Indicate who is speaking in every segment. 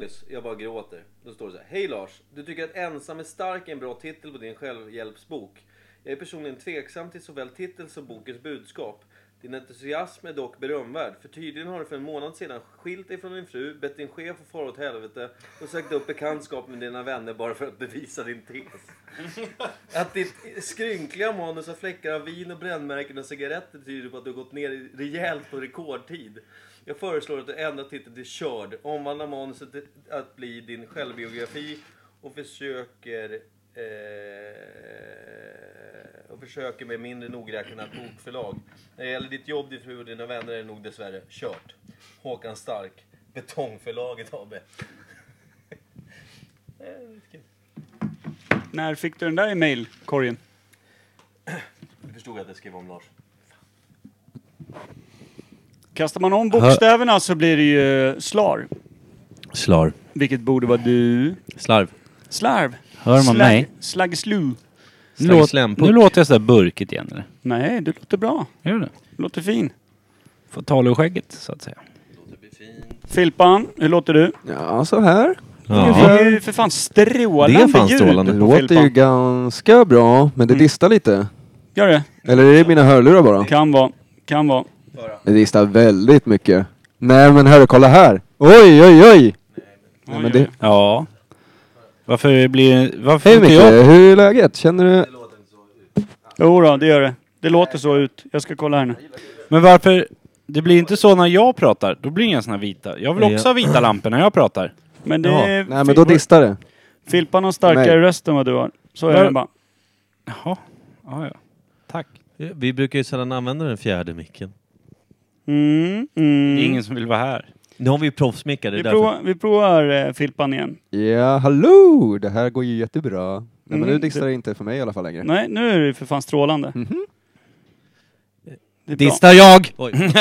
Speaker 1: Alice, jag bara gråter. Då står det så här. Hej Lars! Du tycker att ensam är stark är en bra titel på din självhjälpsbok. Jag är personligen tveksam till såväl titel som bokens budskap. Din entusiasm är dock berömvärd, för tydligen har du för en månad sedan skilt dig från din fru, bett din chef att fara åt helvete och sökt upp bekantskap med dina vänner bara för att bevisa din tes. Att ditt skrynkliga manus har fläckar av vin och brännmärken och cigaretter tyder på att du har gått ner i- rejält på rekordtid. Jag föreslår att du ändrar titeln till Körd, omvandlar manuset till att bli din självbiografi och försöker eh, och försöker med mindre nogräknat bokförlag. När det gäller ditt jobb, din fru och dina vänner är det nog dessvärre kört. Håkan Stark, Betongförlaget AB. Det är lite kul.
Speaker 2: När fick du den där i mailkorgen?
Speaker 1: Du förstod att jag skrev om Lars.
Speaker 2: Kastar man om bokstäverna så blir det ju slar.
Speaker 3: Slar.
Speaker 2: Vilket borde vara du.
Speaker 3: Slarv.
Speaker 2: Slarv.
Speaker 3: Hör man mig?
Speaker 2: Slaggslu.
Speaker 3: Nu,
Speaker 1: Slags
Speaker 3: låt,
Speaker 1: slämpuck.
Speaker 3: nu låter jag sådär burkigt igen eller?
Speaker 2: Nej, du låter bra.
Speaker 3: Gör det?
Speaker 2: Du låter fin.
Speaker 3: Får tala ur skägget så att säga.
Speaker 2: Filpan, hur låter du?
Speaker 4: Ja, så här.
Speaker 2: Det är ju för fan strålande
Speaker 5: Det är fan
Speaker 2: ljud
Speaker 5: strålande.
Speaker 4: Det
Speaker 2: på Mm.
Speaker 4: låter
Speaker 2: Filpan.
Speaker 4: ju ganska bra, men det distar lite.
Speaker 2: Gör det?
Speaker 4: Eller är det mina hörlurar bara?
Speaker 2: Kan vara. Kan vara.
Speaker 4: Det distar väldigt mycket. Nej men hörru, kolla här! Oj, oj, oj!
Speaker 2: Oj,
Speaker 4: men
Speaker 2: oj,
Speaker 4: det-
Speaker 2: oj.
Speaker 3: Ja. Varför blir Varför
Speaker 4: Hej
Speaker 3: inte
Speaker 4: Micke,
Speaker 3: jag?
Speaker 4: hur är läget? Känner du...
Speaker 2: Jo då, det gör det. Det låter så ut. Jag ska kolla här nu.
Speaker 3: Men varför? Det blir inte så när jag pratar. Då blir det inga såna här vita. Jag vill
Speaker 5: Ja.
Speaker 3: också ha vita lampor när jag pratar.
Speaker 2: Men det
Speaker 3: Jaha.
Speaker 2: är...
Speaker 4: Nej men då distar det.
Speaker 2: Filpan har starkare
Speaker 4: Nej.
Speaker 2: röst än vad du har. Så är
Speaker 3: Var-
Speaker 2: det bara.
Speaker 3: Jaha. Ja, ja. Tack.
Speaker 5: Vi brukar ju sällan använda den fjärde micken.
Speaker 2: Mm,
Speaker 3: Det
Speaker 2: mm.
Speaker 3: är ingen som vill vara här.
Speaker 5: Nu har vi ju proffsmickar, det är
Speaker 2: vi,
Speaker 5: därför.
Speaker 2: provar, vi provar eh, Filpan igen.
Speaker 4: Ja, hallå! Det här går ju jättebra. Nej men
Speaker 2: Mm,
Speaker 4: nu distar
Speaker 2: det-
Speaker 4: det inte för mig i alla fall längre.
Speaker 2: Nej, nu är det för fan strålande.
Speaker 3: Mhm.
Speaker 2: Det är bra.
Speaker 3: Distar jag!
Speaker 5: Oj.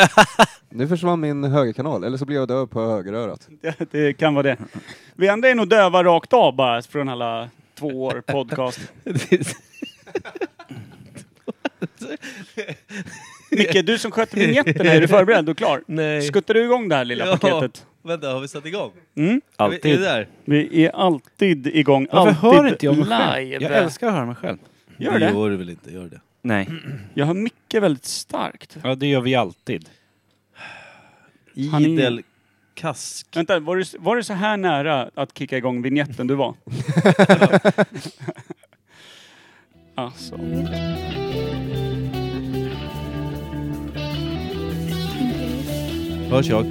Speaker 4: Nu försvann min högerkanal, eller så blir jag döv på högerörat.
Speaker 2: Det, det kan vara det. Vi andra är nog döva rakt av bara från alla två år podcast. Micke, du som sköter vinjetterna, är du förberedd och klar?
Speaker 5: Nej.
Speaker 2: Skuttar du igång det här lilla
Speaker 5: Ja.
Speaker 2: paketet?
Speaker 5: Vänta, har vi satt igång?
Speaker 2: Mm?
Speaker 5: Är vi
Speaker 3: Alltid.
Speaker 5: där?
Speaker 2: Vi är alltid igång,
Speaker 3: Varför
Speaker 2: alltid
Speaker 3: hör inte jag mig själv?
Speaker 2: live.
Speaker 3: Jag älskar att höra mig själv.
Speaker 2: Gör det?
Speaker 5: Gör du väl inte, gör det.
Speaker 3: Nej.
Speaker 2: Jag hör Micke väldigt starkt.
Speaker 3: Ja, det gör vi alltid.
Speaker 2: Han är-
Speaker 5: Idel kask.
Speaker 2: Vänta, var det, var det så här nära att kicka igång vignetten du var? alltså.
Speaker 5: Hörs jag?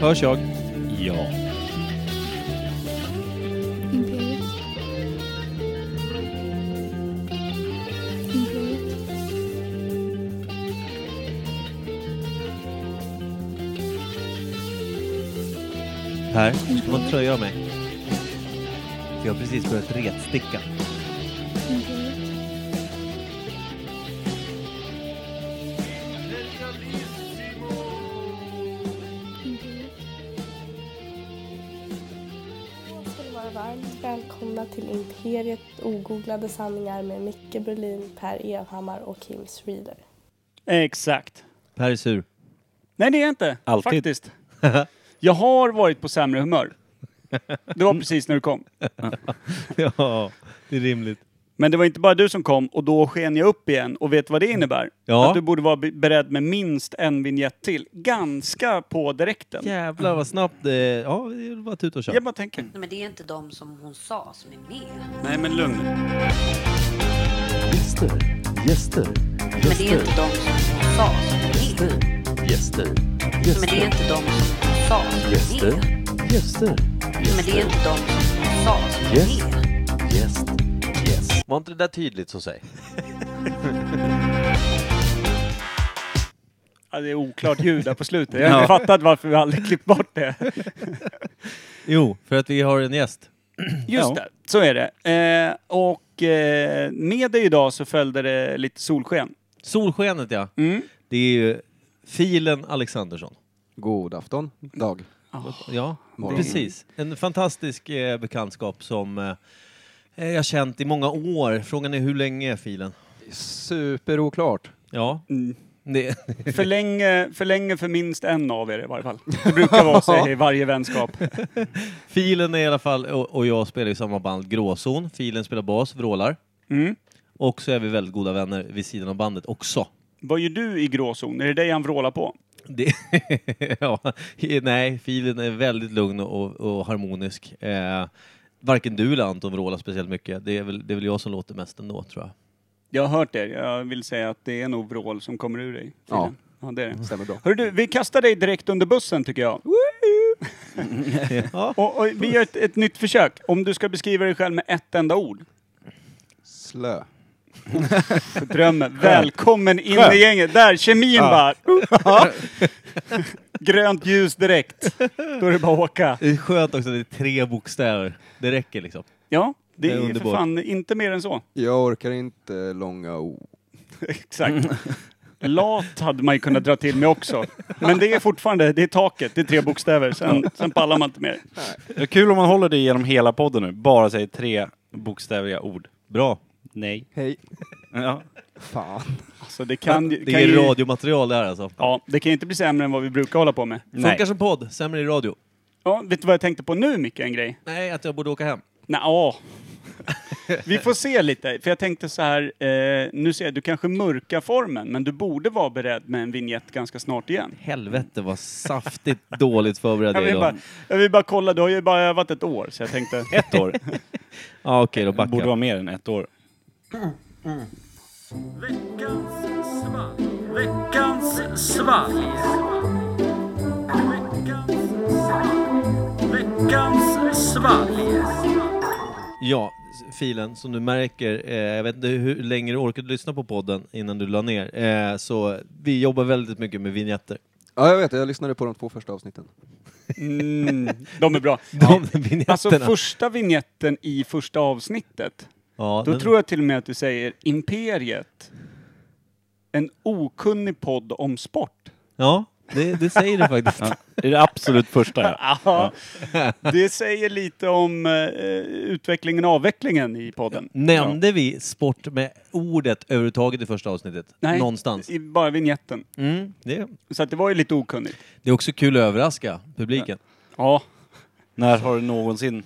Speaker 5: Hörs jag?
Speaker 3: Ja.
Speaker 6: Imperiet. Imperiet.
Speaker 5: Här, ska man tröja av mig? För jag har precis börjat retsticka.
Speaker 6: Imperiet. Imperiet.
Speaker 7: Jag ska ni vara varmt välkomna till Imperiet ogooglade sanningar med Micke Berlin, Per Evhammar och Kim Schreeder.
Speaker 2: Exakt.
Speaker 5: Per är sur.
Speaker 2: Nej, det är jag inte.
Speaker 3: Alltid.
Speaker 2: Faktiskt. Jag har varit på sämre humör. Det var precis när du kom.
Speaker 5: ja, det är rimligt.
Speaker 2: Men det var inte bara du som kom och då sken jag upp igen. Och vet vad det innebär?
Speaker 5: Ja.
Speaker 2: Att du borde vara be- beredd med minst en vignett till. Ganska på direkten.
Speaker 5: Jävlar vad snabbt. Eh, ja, det är bara tut och kör.
Speaker 2: Jag bara tänker.
Speaker 8: Nej, men det är inte de som hon sa som är med.
Speaker 2: Nej, men lugn.
Speaker 9: Gäster, gäster,
Speaker 8: Men det är
Speaker 9: gäster,
Speaker 8: inte de som hon sa som är med.
Speaker 9: gäster,
Speaker 8: Men det är
Speaker 9: gäster,
Speaker 8: inte de som hon sa som är
Speaker 9: gäster,
Speaker 8: med.
Speaker 9: gäster,
Speaker 8: Men det är inte de som hon sa som
Speaker 9: Yes.
Speaker 8: är med.
Speaker 9: gäst, gäst.
Speaker 1: Var inte det där tydligt så säg?
Speaker 2: Ja, det är oklart ljud där på slutet. Jag har inte fattat varför vi aldrig klippt bort det.
Speaker 5: Jo, för att vi har en gäst.
Speaker 2: Just
Speaker 3: Ja.
Speaker 2: det, så är det. Eh, och eh, med dig idag så följde det lite solsken.
Speaker 5: Solskenet ja. Det är ju filen Alexandersson.
Speaker 4: God afton, dag.
Speaker 5: Ja,
Speaker 4: Morgon.
Speaker 5: precis. En fantastisk eh, bekantskap som eh, jag har känt i många år. Frågan är hur länge filen?
Speaker 4: Superoklart.
Speaker 5: Ja, Det,
Speaker 2: Förlänge, förlänge för minst en av er i varje fall. Det brukar vara så i varje vänskap.
Speaker 5: filen är i alla fall, och, och jag spelar i samma band, Gråzon. Filen spelar bas, vrålar.
Speaker 2: Mm.
Speaker 5: Och så är vi väldigt goda vänner vid sidan av bandet också.
Speaker 2: Vad gör du i gråzon? Är det dig han vrålar på?
Speaker 5: Det, ja, nej, filen är väldigt lugn och, och harmonisk. Eh, varken du eller Anton vrålar speciellt mycket. Det är, väl, det är väl jag som låter mest ändå, tror jag.
Speaker 2: Jag har hört det. Jag vill säga att det är nog vrål som kommer ur dig.
Speaker 4: Ja.
Speaker 2: ja Mm. det är det.
Speaker 4: Stämmer bra.
Speaker 2: Hörru du, vi kastar dig direkt under bussen tycker jag.
Speaker 5: Ja.
Speaker 2: Och, och vi gör ett, ett nytt försök. Om du ska beskriva dig själv med ett enda ord.
Speaker 4: Slö.
Speaker 2: Drömmen. Välkommen in i gänget. Där, kemin bara. Grönt ljus direkt. Då är det bara att åka.
Speaker 5: Det är skönt också att det är tre bokstäver. Det räcker liksom.
Speaker 2: Ja, det
Speaker 5: Det är
Speaker 2: är för
Speaker 5: underbart.
Speaker 2: fan inte mer än så.
Speaker 4: Jag orkar inte långa ord.
Speaker 2: Exakt. Lat hade man ju kunnat dra till med också. Men det är fortfarande, det är taket, det är tre bokstäver. Sen, sen pallar man inte mer.
Speaker 3: Det är kul om man håller det genom hela podden nu. Bara säger tre bokstäviga ord. Bra. Nej.
Speaker 4: Hej.
Speaker 3: Ja.
Speaker 4: Fan.
Speaker 2: Så Alltså, det kan, ju-
Speaker 5: Det
Speaker 2: kan
Speaker 5: är
Speaker 2: ju...
Speaker 5: radiomaterial det här alltså.
Speaker 2: Ja, det kan ju inte bli sämre än vad vi brukar hålla på med.
Speaker 5: Funkar som podd, sämre i radio.
Speaker 2: Ja, vet du vad jag tänkte på nu Micke, en grej?
Speaker 5: Nej, att jag borde åka hem.
Speaker 2: Nej, ja. Vi får se lite, för jag tänkte så här, eh, nu ser jag, du kanske mörkar formen, men du borde vara beredd med en vignett ganska snart igen.
Speaker 5: Helvete vad saftigt dåligt förberedd
Speaker 2: Jag
Speaker 5: jag är
Speaker 2: vill, bara,
Speaker 5: idag.
Speaker 2: jag vill bara kolla, du har ju bara övat ett år, så jag tänkte...
Speaker 3: Ett år.
Speaker 5: Ja, okej då,
Speaker 3: Det
Speaker 5: backa.
Speaker 3: borde vara mer än ett år.
Speaker 5: Ja, s- filen som du märker, eh, jag vet inte hur länge du orkade lyssna på podden innan du la ner, eh, så vi jobbar väldigt mycket med vignetter.
Speaker 4: Ja, jag vet. Jag lyssnade på de två första avsnitten.
Speaker 2: Mm, de är bra.
Speaker 5: De vignetterna.
Speaker 2: Alltså första vignetten i första avsnittet,
Speaker 5: ja,
Speaker 2: då
Speaker 5: den-
Speaker 2: tror jag till och med att du säger Imperiet. En okunnig podd om sport.
Speaker 5: ja det, det säger du faktiskt.
Speaker 3: Ja. Det är det absolut första ja.
Speaker 2: Ja. Det säger lite om eh, utvecklingen och avvecklingen i podden.
Speaker 5: Nämnde vi sport med ordet överhuvudtaget i första avsnittet?
Speaker 2: Nej,
Speaker 5: Någonstans?
Speaker 2: I, bara vignetten.
Speaker 5: Mm, det,
Speaker 2: Så att det var ju lite okunnigt.
Speaker 5: det är också kul att överraska publiken.
Speaker 2: Ja.
Speaker 3: När har det någonsin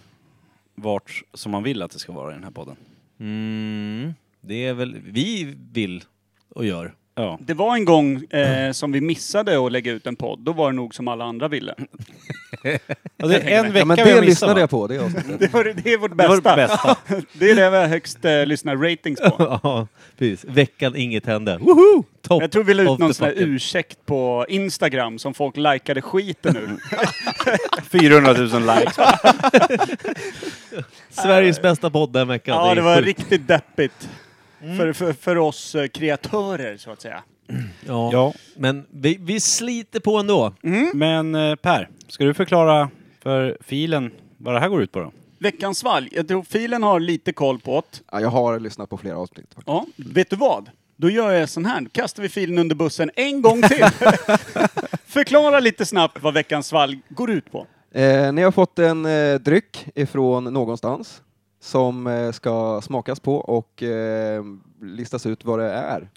Speaker 3: varit som man vill att det ska vara i den här podden?
Speaker 5: Mm, det är väl, vi vill och gör.
Speaker 3: Ja.
Speaker 2: Det var en gång eh, som vi missade att lägga ut en podd. Då var det nog som alla andra ville.
Speaker 3: Och det
Speaker 5: Alltså,
Speaker 3: är en vecka
Speaker 4: Ja, men
Speaker 3: vi har
Speaker 4: det
Speaker 3: missat,
Speaker 4: lyssnade
Speaker 3: va?
Speaker 4: jag på, det avsnittet.
Speaker 2: Det, var, det är vårt
Speaker 3: Det var det
Speaker 2: bästa.
Speaker 3: bästa.
Speaker 2: Det är det vi har högst eh, lyssnar-ratings på.
Speaker 5: Ja, precis. Veckan inget hände. Woho! Top
Speaker 2: Jag tror vi la
Speaker 5: of
Speaker 2: ut
Speaker 5: the
Speaker 2: någon sån här
Speaker 5: pocket.
Speaker 2: ursäkt på Instagram som folk likade skiten ur.
Speaker 3: 400 000 likes.
Speaker 5: Sveriges bästa podd den veckan.
Speaker 2: ja,
Speaker 5: är
Speaker 2: det Mm. var
Speaker 5: sjukt.
Speaker 2: riktigt deppigt. För, för, för oss eh, kreatörer, så att säga.
Speaker 5: Ja.
Speaker 3: Ja.
Speaker 5: Men vi, vi sliter på ändå.
Speaker 3: Men eh, Per, ska du förklara för filen vad det här går ut på då?
Speaker 2: Veckans svalg. Jag tror filen har lite koll på det.
Speaker 4: Ja, jag har lyssnat på flera avsnitt. faktiskt.
Speaker 2: Ja, vet du vad? Då gör jag sån här. Då kastar vi filen under bussen en gång till. Förklara lite snabbt vad veckans svalg går ut på.
Speaker 4: Eh, ni har fått en eh, dryck ifrån någonstans som eh, ska smakas på och eh, listas ut vad det är.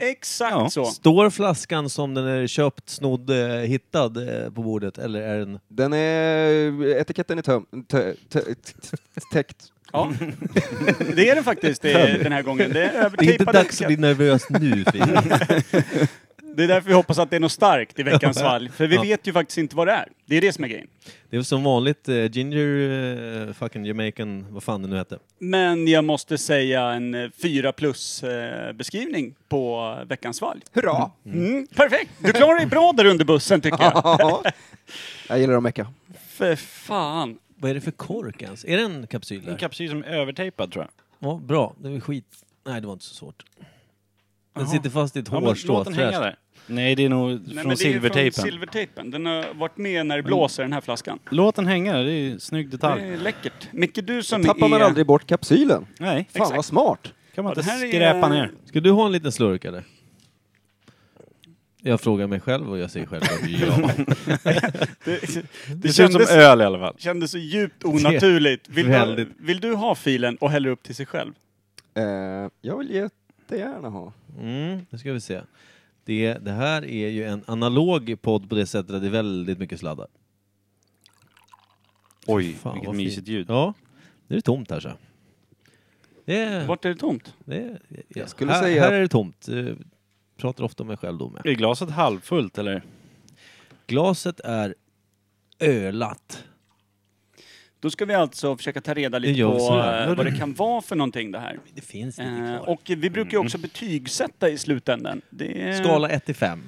Speaker 2: Exakt
Speaker 3: Ja.
Speaker 2: så.
Speaker 5: Står flaskan som den är köpt, snodd, eh, hittad eh, på bordet? Eller är den...
Speaker 4: Den är... eh, Etiketten är töm... tö- tö- t- t- Täckt.
Speaker 2: Ja. Det är den faktiskt det, är- den här gången. Det är
Speaker 5: Det är inte
Speaker 2: övertejpade
Speaker 5: dags att bli nervös nu, Filip.
Speaker 2: Det är därför vi hoppas att det är något starkt i veckans valg. För vi
Speaker 5: Ja.
Speaker 2: vet ju faktiskt inte vad det är. Det är det som är grejen.
Speaker 5: Det är som vanligt eh, Ginger eh, fucking Jamaican, vad fan det nu hette.
Speaker 2: Men jag måste säga en eh, fyra plus eh, beskrivning på eh, veckans valg.
Speaker 4: Hurra!
Speaker 2: Mm, perfekt! Du klarar dig bra där under bussen tycker jag.
Speaker 4: Ja. jag gillar att mecka.
Speaker 2: För fan.
Speaker 5: Vad är det för kork ens? Är det en kapsyl
Speaker 3: En
Speaker 5: där?
Speaker 3: kapsyl som är övertejpad tror jag.
Speaker 5: Ja, bra. Det var skit... Nej, det var inte så svårt. Den
Speaker 3: Jaha.
Speaker 5: sitter fast i ett
Speaker 3: Ja, men
Speaker 5: hårstrå.
Speaker 3: låt den hänga
Speaker 5: fräscht.
Speaker 3: där. Nej, det är nog
Speaker 2: Nej, men det är
Speaker 3: från silvertejpen.
Speaker 2: Från silvertejpen. Den har varit med
Speaker 4: Mm.
Speaker 2: när det blåser den här flaskan.
Speaker 3: Låt den hänga, det är ju en snygg
Speaker 2: Det
Speaker 3: detalj.
Speaker 2: är läckert. Micke, du som
Speaker 4: Tappar
Speaker 2: är...
Speaker 4: man aldrig bort kapsylen?
Speaker 3: Nej,
Speaker 4: Fan vad smart!
Speaker 3: kan man
Speaker 2: Ja,
Speaker 3: inte
Speaker 2: det här är-
Speaker 3: skräpa ner.
Speaker 5: Ska du ha en liten slurk eller? Jag frågar mig själv och jag säger själv att ja.
Speaker 2: Det,
Speaker 3: Det,
Speaker 2: det
Speaker 3: ser ut som
Speaker 2: kändes,
Speaker 3: öl i alla fall.
Speaker 2: kändes så djupt onaturligt. Vill du,
Speaker 5: Väldigt.
Speaker 2: vill du ha filen och hälla upp till sig själv?
Speaker 4: Eh, jag vill ge jättegärna ha.
Speaker 5: Mm, nu ska vi se. Det, det här är ju en analog podd på det sättet att det är väldigt mycket sladdar.
Speaker 3: Oj,
Speaker 5: Fan,
Speaker 3: vilket
Speaker 5: vad fint.
Speaker 3: mysigt ljud.
Speaker 5: Ja, nu är det tomt här så. Det är,
Speaker 2: Vart är det tomt?
Speaker 5: det är, ja.
Speaker 4: Jag skulle
Speaker 5: här,
Speaker 4: säga-
Speaker 5: här är det tomt. Eh, Pratar ofta om mig själv då med.
Speaker 3: Är glaset halvfullt eller?
Speaker 5: Glaset är ölat.
Speaker 2: Då ska vi alltså försöka ta reda lite
Speaker 5: Ja,
Speaker 2: på
Speaker 5: så är det.
Speaker 2: eh, vad det kan vara för någonting det här.
Speaker 5: Det finns lite
Speaker 2: Eh,
Speaker 5: kvar.
Speaker 2: och vi brukar ju också betygsätta i slutändan. Det är...
Speaker 5: Skala 1 till 5.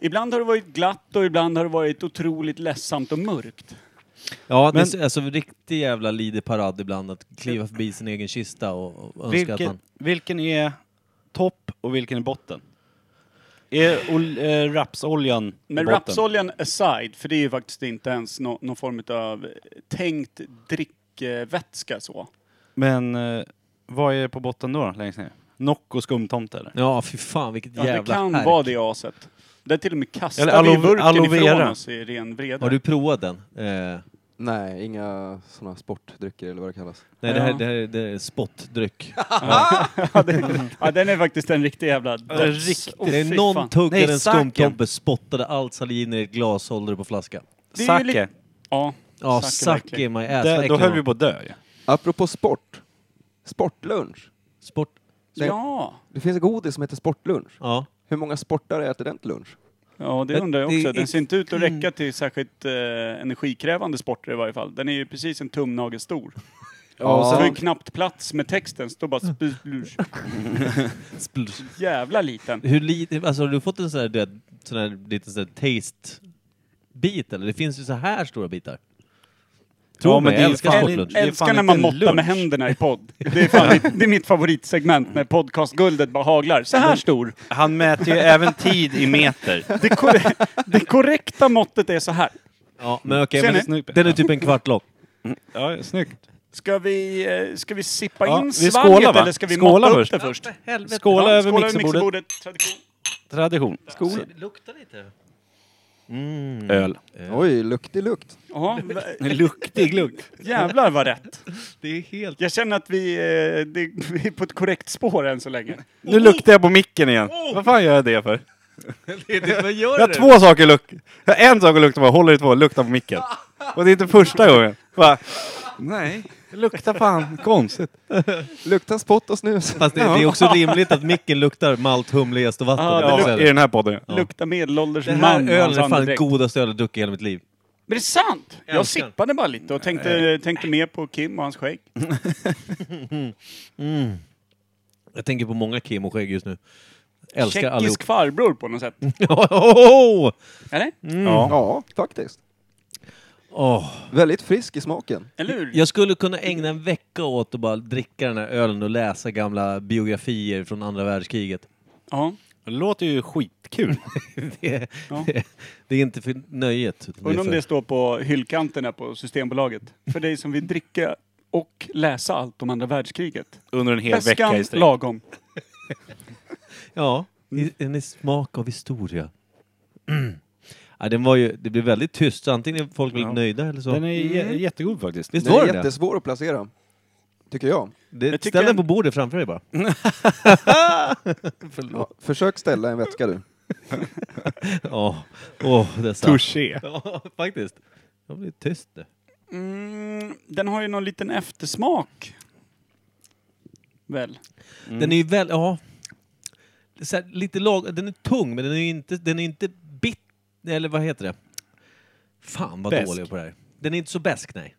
Speaker 2: Ibland har det varit glatt och ibland har det varit otroligt ledsamt och mörkt.
Speaker 5: Ja,
Speaker 3: Men-
Speaker 5: det är s- alltså riktig jävla lideparad ibland att kliva förbi sin egen kista och, och önska att
Speaker 3: Vilken,
Speaker 5: man...
Speaker 3: vilken är topp och vilken är botten? Är ol, eh, rapsoljan
Speaker 2: Men
Speaker 3: botten?
Speaker 2: rapsoljan aside, för det är ju faktiskt inte ens nå- någon form av tänkt drickvätska så.
Speaker 3: Men eh, vad är på botten då, längst ner? Nock och skumtomte eller?
Speaker 5: Ja, fy fan vilket
Speaker 2: Ja, det
Speaker 5: jävla
Speaker 2: kan
Speaker 5: härk.
Speaker 2: vara det aset. Där till och med kastar
Speaker 3: Eller aloe-
Speaker 2: vi burken
Speaker 3: aloe
Speaker 2: ifrån
Speaker 3: vera.
Speaker 2: oss i ren vrede.
Speaker 5: Har du provat den? Eh,
Speaker 4: Nej, inga sådana sportdrycker eller vad det kallas.
Speaker 5: nej, det här,
Speaker 2: Ja.
Speaker 5: det här det här är spottdryck.
Speaker 2: ja, det, ja, den är faktiskt en riktig jävla döds-
Speaker 3: riktig-
Speaker 2: Åh,
Speaker 5: det
Speaker 2: fy
Speaker 5: är någon
Speaker 2: fan.
Speaker 5: tuggade
Speaker 3: Nej,
Speaker 5: en
Speaker 3: saken.
Speaker 5: skumtompe, spottade allt saliv ner i ett glas, håller det på flaska.
Speaker 2: Det är ju
Speaker 3: Sake.
Speaker 2: lite- Ja,
Speaker 5: Ja,
Speaker 2: Sake,
Speaker 5: sake
Speaker 2: verkligen.
Speaker 5: in my ass.
Speaker 3: Där-
Speaker 5: Äcklig
Speaker 3: då höll
Speaker 5: man.
Speaker 3: vi på att dö ju.
Speaker 4: Apropå sport. Sportlunch.
Speaker 5: Sport.
Speaker 2: ja.
Speaker 4: Det finns en godis som heter sportlunch.
Speaker 5: Ja.
Speaker 4: Hur många sportare äter den till lunch?
Speaker 2: Ja, det
Speaker 5: Men
Speaker 2: undrar jag
Speaker 5: det
Speaker 2: också.
Speaker 5: är-
Speaker 2: Den ser inte ut att räcka till särskilt eh, energikrävande sporter i varje fall. Den är ju precis en tumnagel stor.
Speaker 4: Ja,
Speaker 2: Så det är ju knappt plats med texten, står bara spl- spl-
Speaker 5: Spl-
Speaker 2: jävla liten.
Speaker 5: Hur lite, alltså har du fått en sån här, du vet, sån här liten sån här taste-bit eller? Det finns ju så här stora bitar. Tror
Speaker 3: men
Speaker 5: mig,
Speaker 3: det är
Speaker 5: jag älskar
Speaker 3: fan-
Speaker 5: sportlunch.
Speaker 3: det är
Speaker 2: Älskar
Speaker 3: fan
Speaker 2: när man
Speaker 3: inte
Speaker 2: måttar
Speaker 3: lunch.
Speaker 2: med händerna i podd. Det är, fan mitt, det är mitt favoritsegment när podcastguldet bara haglar. Så här stor.
Speaker 3: Han mäter ju även tid i meter.
Speaker 2: Det, kor det korrekta måttet är så här.
Speaker 5: Ja, men okej,
Speaker 2: Ser
Speaker 5: men
Speaker 3: ni?
Speaker 5: den är typ en kvart lång.
Speaker 3: Ja, snyggt.
Speaker 2: Ska vi, eh, ska vi sippa
Speaker 3: Ja,
Speaker 2: in
Speaker 3: vi
Speaker 2: svalget
Speaker 3: skålar, va?
Speaker 2: eller ska vi
Speaker 3: Skåla
Speaker 2: måtta
Speaker 3: först.
Speaker 2: upp det först?
Speaker 3: Skåla
Speaker 2: Ja,
Speaker 3: över mixerbordet.
Speaker 2: mixerbordet. Tradition.
Speaker 3: Tradition. Alltså,
Speaker 5: Det luktar lite. Mm.
Speaker 3: Öl.
Speaker 4: Oj, luktig lukt.
Speaker 2: Ja, va-
Speaker 3: Luktig lukt.
Speaker 2: Jävlar vad rätt!
Speaker 5: Det är helt...
Speaker 2: Jag känner att vi, eh, det, vi är på ett korrekt spår än så länge.
Speaker 3: Nu luktar jag på micken igen. Vad fan gör jag det för?
Speaker 5: Vad gör
Speaker 3: Jag har
Speaker 5: du?
Speaker 3: två saker lukt. Jag har en sak att lukta på, håller i två, lukta på micken. Och det är inte första gången. Bara, nej, det luktar fan konstigt.
Speaker 4: Luktar spott och snus.
Speaker 5: Fast det, det är också rimligt att micken luktar malt, humle, jäst och vatten.
Speaker 2: Ja, det
Speaker 5: Eller
Speaker 3: Ja,
Speaker 5: så är
Speaker 3: I den här podden. Ja.
Speaker 2: Luktar medelålders
Speaker 5: Det
Speaker 2: man.
Speaker 5: här
Speaker 2: och hans
Speaker 5: ölen är fan det
Speaker 2: andedräkt.
Speaker 5: godaste öl jag druckit i hela mitt liv.
Speaker 2: Men det är sant! Jag
Speaker 5: Älskar.
Speaker 2: sippade bara lite och tänkte, tänkte mer på Kim och hans skägg.
Speaker 5: Jag tänker på många Kim och skägg just nu. Älskar
Speaker 2: Tjeckisk
Speaker 5: allihop. Mm.
Speaker 2: farbror på något sätt.
Speaker 5: Åh!
Speaker 2: Eller?
Speaker 4: Ja, faktiskt.
Speaker 5: Åh.
Speaker 4: Väldigt frisk i smaken.
Speaker 2: Eller hur?
Speaker 5: Jag skulle kunna ägna en vecka åt att bara dricka den här ölen och läsa gamla biografier från andra världskriget.
Speaker 2: Ja.
Speaker 3: Det låter ju skitkul.
Speaker 5: Det är,
Speaker 2: Ja.
Speaker 5: det är inte för nöjet. utan
Speaker 2: Undrar om
Speaker 5: för-
Speaker 2: det står på hyllkanterna på Systembolaget. För dig som vill dricka och läsa allt om andra världskriget.
Speaker 3: Under en hel vecka
Speaker 2: Väskan
Speaker 3: i sträck.
Speaker 2: lagom.
Speaker 5: Ja,
Speaker 2: Mm.
Speaker 5: i- en i smak av historia. ja, den var ju, det blev väldigt tyst, så antingen är folk väldigt nöjda eller så.
Speaker 3: Den är jä- jättegod faktiskt.
Speaker 5: Visst
Speaker 4: Den
Speaker 5: var
Speaker 4: är
Speaker 5: den det?
Speaker 4: jättesvår att placera. Tycker jag.
Speaker 5: det?
Speaker 2: Jag tycker
Speaker 5: Ställ den
Speaker 2: jag-
Speaker 5: på bordet framför dig bara.
Speaker 4: Ja, försök ställa en vätska du.
Speaker 5: Ja, åh, dessa.
Speaker 3: Touché.
Speaker 5: Ja, faktiskt. Jag blir tyst nu.
Speaker 2: Mm, den har ju någon liten eftersmak. Väl?
Speaker 5: Den är ju väl, ja. Det är Så här, lite lag, den är tung men den är ju inte, den är inte bit, eller vad heter det? Fan vad
Speaker 3: Besk.
Speaker 5: dålig jag är på det här. Den är inte så besk nej.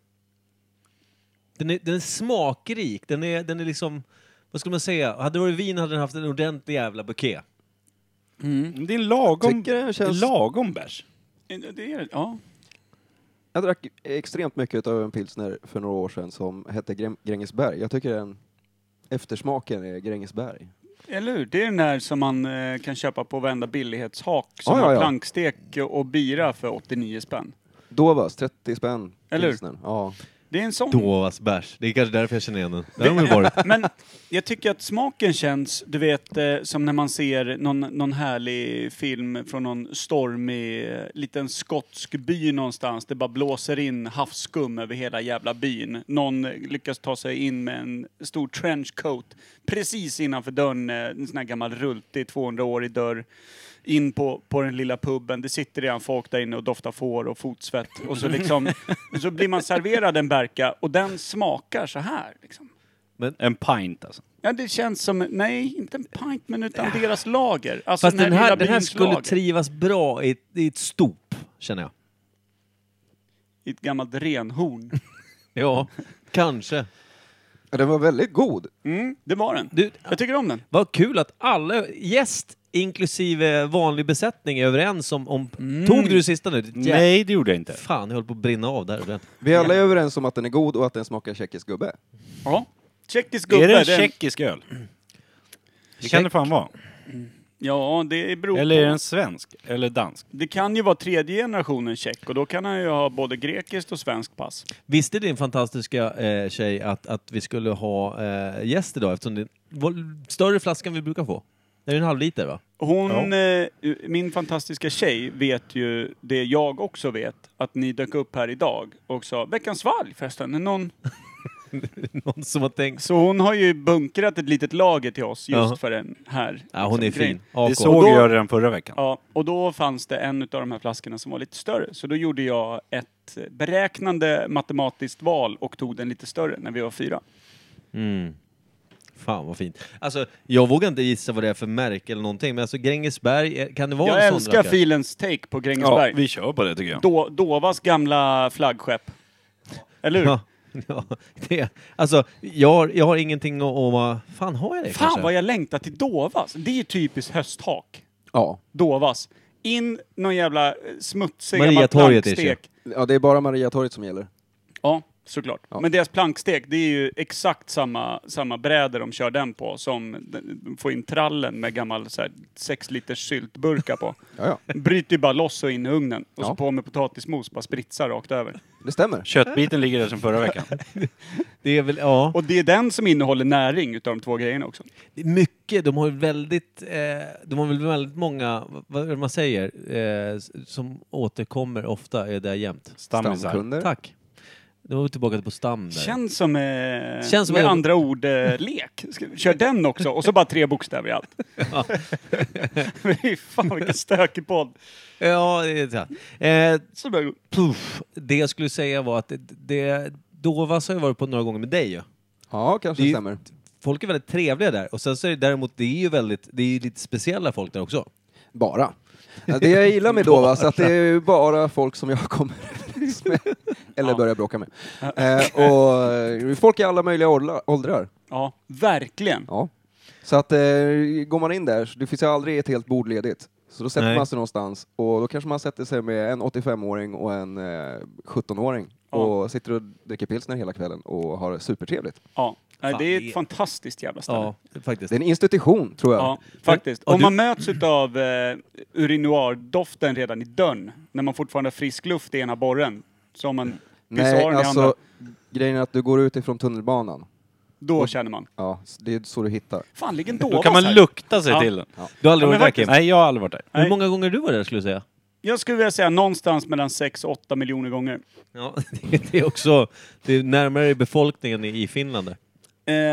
Speaker 5: Den är, den är smakrik, den är, den är liksom, vad skulle man säga, hade det varit vin hade den haft en ordentlig jävla buké.
Speaker 3: Det är en lagom,
Speaker 4: Tycker den känns-
Speaker 3: lagom bärs.
Speaker 2: Det är, ja.
Speaker 4: Jag drack extremt mycket av en pilsner för några år sedan som hette Gre- Grängesberg. Jag tycker den eftersmaken är Grängesberg.
Speaker 2: Eller hur? Det är den där som man eh, kan köpa på varenda billighetshak som
Speaker 4: Ja, ja,
Speaker 2: har
Speaker 4: ja.
Speaker 2: plankstek och bira för 89 spänn.
Speaker 4: Dovas, 30 spänn.
Speaker 2: Eller hur?
Speaker 4: pilsnern. Ja.
Speaker 2: Det är en sång.
Speaker 5: Dovas bärs. Det är kanske därför jag känner igen den. Där har man ju varit.
Speaker 2: Men jag tycker att smaken känns, du vet, eh, som när man ser någon, någon härlig film från någon stormig eh, liten skotsk by någonstans. Det bara blåser in havsskum över hela jävla byn. Någon eh, lyckas ta sig in med en stor trenchcoat precis innanför dörren. eh, En sån här gammal rultig 200-årig dörr. In på, på den lilla puben. Det sitter redan folk där inne och doftar får och fotsvett. Och så, liksom, så blir man serverad en berka och den smakar så här. Liksom.
Speaker 3: En pint alltså.
Speaker 2: Ja, det känns som, nej, inte en pint, men utan deras lager. Alltså
Speaker 5: Fast den här,
Speaker 2: lilla
Speaker 5: den här
Speaker 2: byns
Speaker 5: skulle
Speaker 2: lager.
Speaker 5: trivas bra i, ett- i ett stop, känner jag.
Speaker 2: I ett gammalt renhorn.
Speaker 5: Ja, kanske.
Speaker 4: Ja, den var väldigt god.
Speaker 2: Mm, det var den.
Speaker 5: Du,
Speaker 2: Jag tycker om den.
Speaker 5: Vad kul att alla gäst, inklusive vanlig besättning, är överens om... om Tog du det sista nu? Ditt jä-
Speaker 3: Nej, det gjorde jag inte.
Speaker 5: Fan, jag höll på att brinna av där. ibland.
Speaker 4: Vi alla är överens om att den är god och att den smakar tjeckisk gubbe.
Speaker 2: Ja. Tjeckisk gubbe.
Speaker 3: är det en
Speaker 2: den-
Speaker 3: tjeckisk öl? Det kan det fan vara.
Speaker 2: Ja, det beror
Speaker 3: Eller är
Speaker 2: på.
Speaker 3: den svensk? Eller dansk?
Speaker 2: Det kan ju vara tredje generationen tjeck och då kan han ju ha både grekiskt och svenskt pass.
Speaker 5: Visste din fantastiska eh, tjej att, att vi skulle ha eh, gäst idag eftersom det var större flaskan vi brukar få? Det är en halv liter va?
Speaker 2: Hon, eh, min fantastiska tjej, vet ju det jag också vet, att ni dök upp här idag och sa veckans valg förresten. Är Någon...
Speaker 5: Någon som har tänkt...
Speaker 2: Så hon har ju bunkrat ett litet lager till oss just
Speaker 5: Ja.
Speaker 2: för den här.
Speaker 5: Ja, hon är
Speaker 2: liksom, grejen.
Speaker 5: fin. AK.
Speaker 3: Det såg
Speaker 2: då-
Speaker 3: jag redan förra veckan.
Speaker 2: Ja, och då fanns det en av de här flaskorna som var lite större. Så då gjorde jag ett beräknande matematiskt val och tog den lite större när vi var fyra.
Speaker 5: Mm. Fan vad fint. Alltså, jag vågar inte gissa vad det är för märke eller någonting, men alltså Grängesberg, eh, kan det vara
Speaker 2: jag
Speaker 5: en sån
Speaker 2: älskar
Speaker 5: rackare?
Speaker 2: filens take på Grängesberg.
Speaker 3: vi kör på det tycker jag.
Speaker 2: då, Dovas gamla flaggskepp. Eller hur?
Speaker 5: Ja, ja, det, alltså, jag har, jag har ingenting att... att vara- fan har jag det kanske?
Speaker 2: Fan vad jag längtar till Dovas. Det är ju typiskt hösthak.
Speaker 4: Ja.
Speaker 2: Dovas. In någon jävla eh, smutsig
Speaker 5: Maria
Speaker 2: gammal
Speaker 5: Torget är
Speaker 2: plankstek.
Speaker 4: Ja, det är bara Mariatorget som gäller.
Speaker 2: Ja, såklart. Men deras plankstek, det är ju exakt samma, samma bräde de kör den på som den- de får in trallen med gammal så här, 6 liters syltburka på.
Speaker 4: Ja, ja.
Speaker 2: Bryter ju bara loss och in i ugnen. Och så
Speaker 4: Ja.
Speaker 2: på med potatismos, bara spritsar rakt över.
Speaker 4: Det stämmer.
Speaker 3: Köttbiten ligger där som förra veckan.
Speaker 5: Det är väl, ja.
Speaker 2: Och det är den som innehåller näring utav de två grejerna också.
Speaker 5: Det är mycket, de har ju väldigt, eh, de har väl väldigt många, vad- vad är det man säger, eh, s- som återkommer ofta, är där jämt.
Speaker 3: Stammisar.
Speaker 5: Tack. Nu var vi tillbaka på stam där.
Speaker 2: Känns som, eh,
Speaker 5: Känns som
Speaker 2: med
Speaker 5: en-
Speaker 2: andra ord, eh, lek. Ska vi- Kör den också och så bara tre bokstäver i allt. Fy fan vilken stökig podd.
Speaker 5: Ja, det är så här. Eh,
Speaker 2: Så där-
Speaker 5: puff. Det jag skulle säga var att det, det, Dovas har jag varit på några gånger med dig ju.
Speaker 4: Ja, kanske
Speaker 5: Det-
Speaker 4: det stämmer.
Speaker 5: Folk är väldigt trevliga där. Och sen så är det däremot, det är ju väldigt, det är ju lite speciella folk där också.
Speaker 4: Bara. Ja, Det jag gillar med Dovas är att det är ju bara folk som jag kommer överens med. Eller börjar bråka med. Eh, och eh, folk i alla möjliga åldrar- åldrar.
Speaker 2: Ja, verkligen.
Speaker 4: Ja. Så att eh, går man in där, så det finns ju aldrig ett helt bord ledigt. Så då sätter
Speaker 5: Nej.
Speaker 4: man sig någonstans och då kanske man sätter sig med en 85-åring och en eh, 17-åring
Speaker 2: Ja.
Speaker 4: och sitter och dricker pilsner hela kvällen och har det supertrevligt.
Speaker 2: Ja, nej,
Speaker 5: Fan,
Speaker 2: det är
Speaker 5: det-
Speaker 2: ett fantastiskt jävla ställe.
Speaker 5: Ja,
Speaker 2: Ja.
Speaker 5: faktiskt.
Speaker 4: Det är en institution, tror jag.
Speaker 2: faktiskt.
Speaker 5: och
Speaker 2: Om
Speaker 5: du-
Speaker 2: man möts av eh, urinoardoften redan i dörren, när man fortfarande har frisk luft i ena borren, så har man
Speaker 4: Nej,
Speaker 2: pissoaren i andra,
Speaker 4: alltså grejen är att du går ut ifrån tunnelbanan.
Speaker 2: då känner man.
Speaker 4: Ja, s- det är så du hittar.
Speaker 2: Fan, ligger en
Speaker 3: Då
Speaker 2: dovas
Speaker 3: kan man
Speaker 2: här?
Speaker 3: lukta sig
Speaker 2: Ja.
Speaker 3: till den.
Speaker 5: Du har aldrig
Speaker 2: Ja,
Speaker 5: varit där
Speaker 2: men faktiskt.
Speaker 5: Kim?
Speaker 3: Nej, jag har aldrig varit där.
Speaker 5: Hur
Speaker 2: Nej.
Speaker 5: många gånger du var där skulle du säga?
Speaker 2: Jag skulle vilja säga någonstans mellan 6 och 8 miljoner gånger.
Speaker 5: Ja, det är också det är närmare befolkningen i- i Finland. där.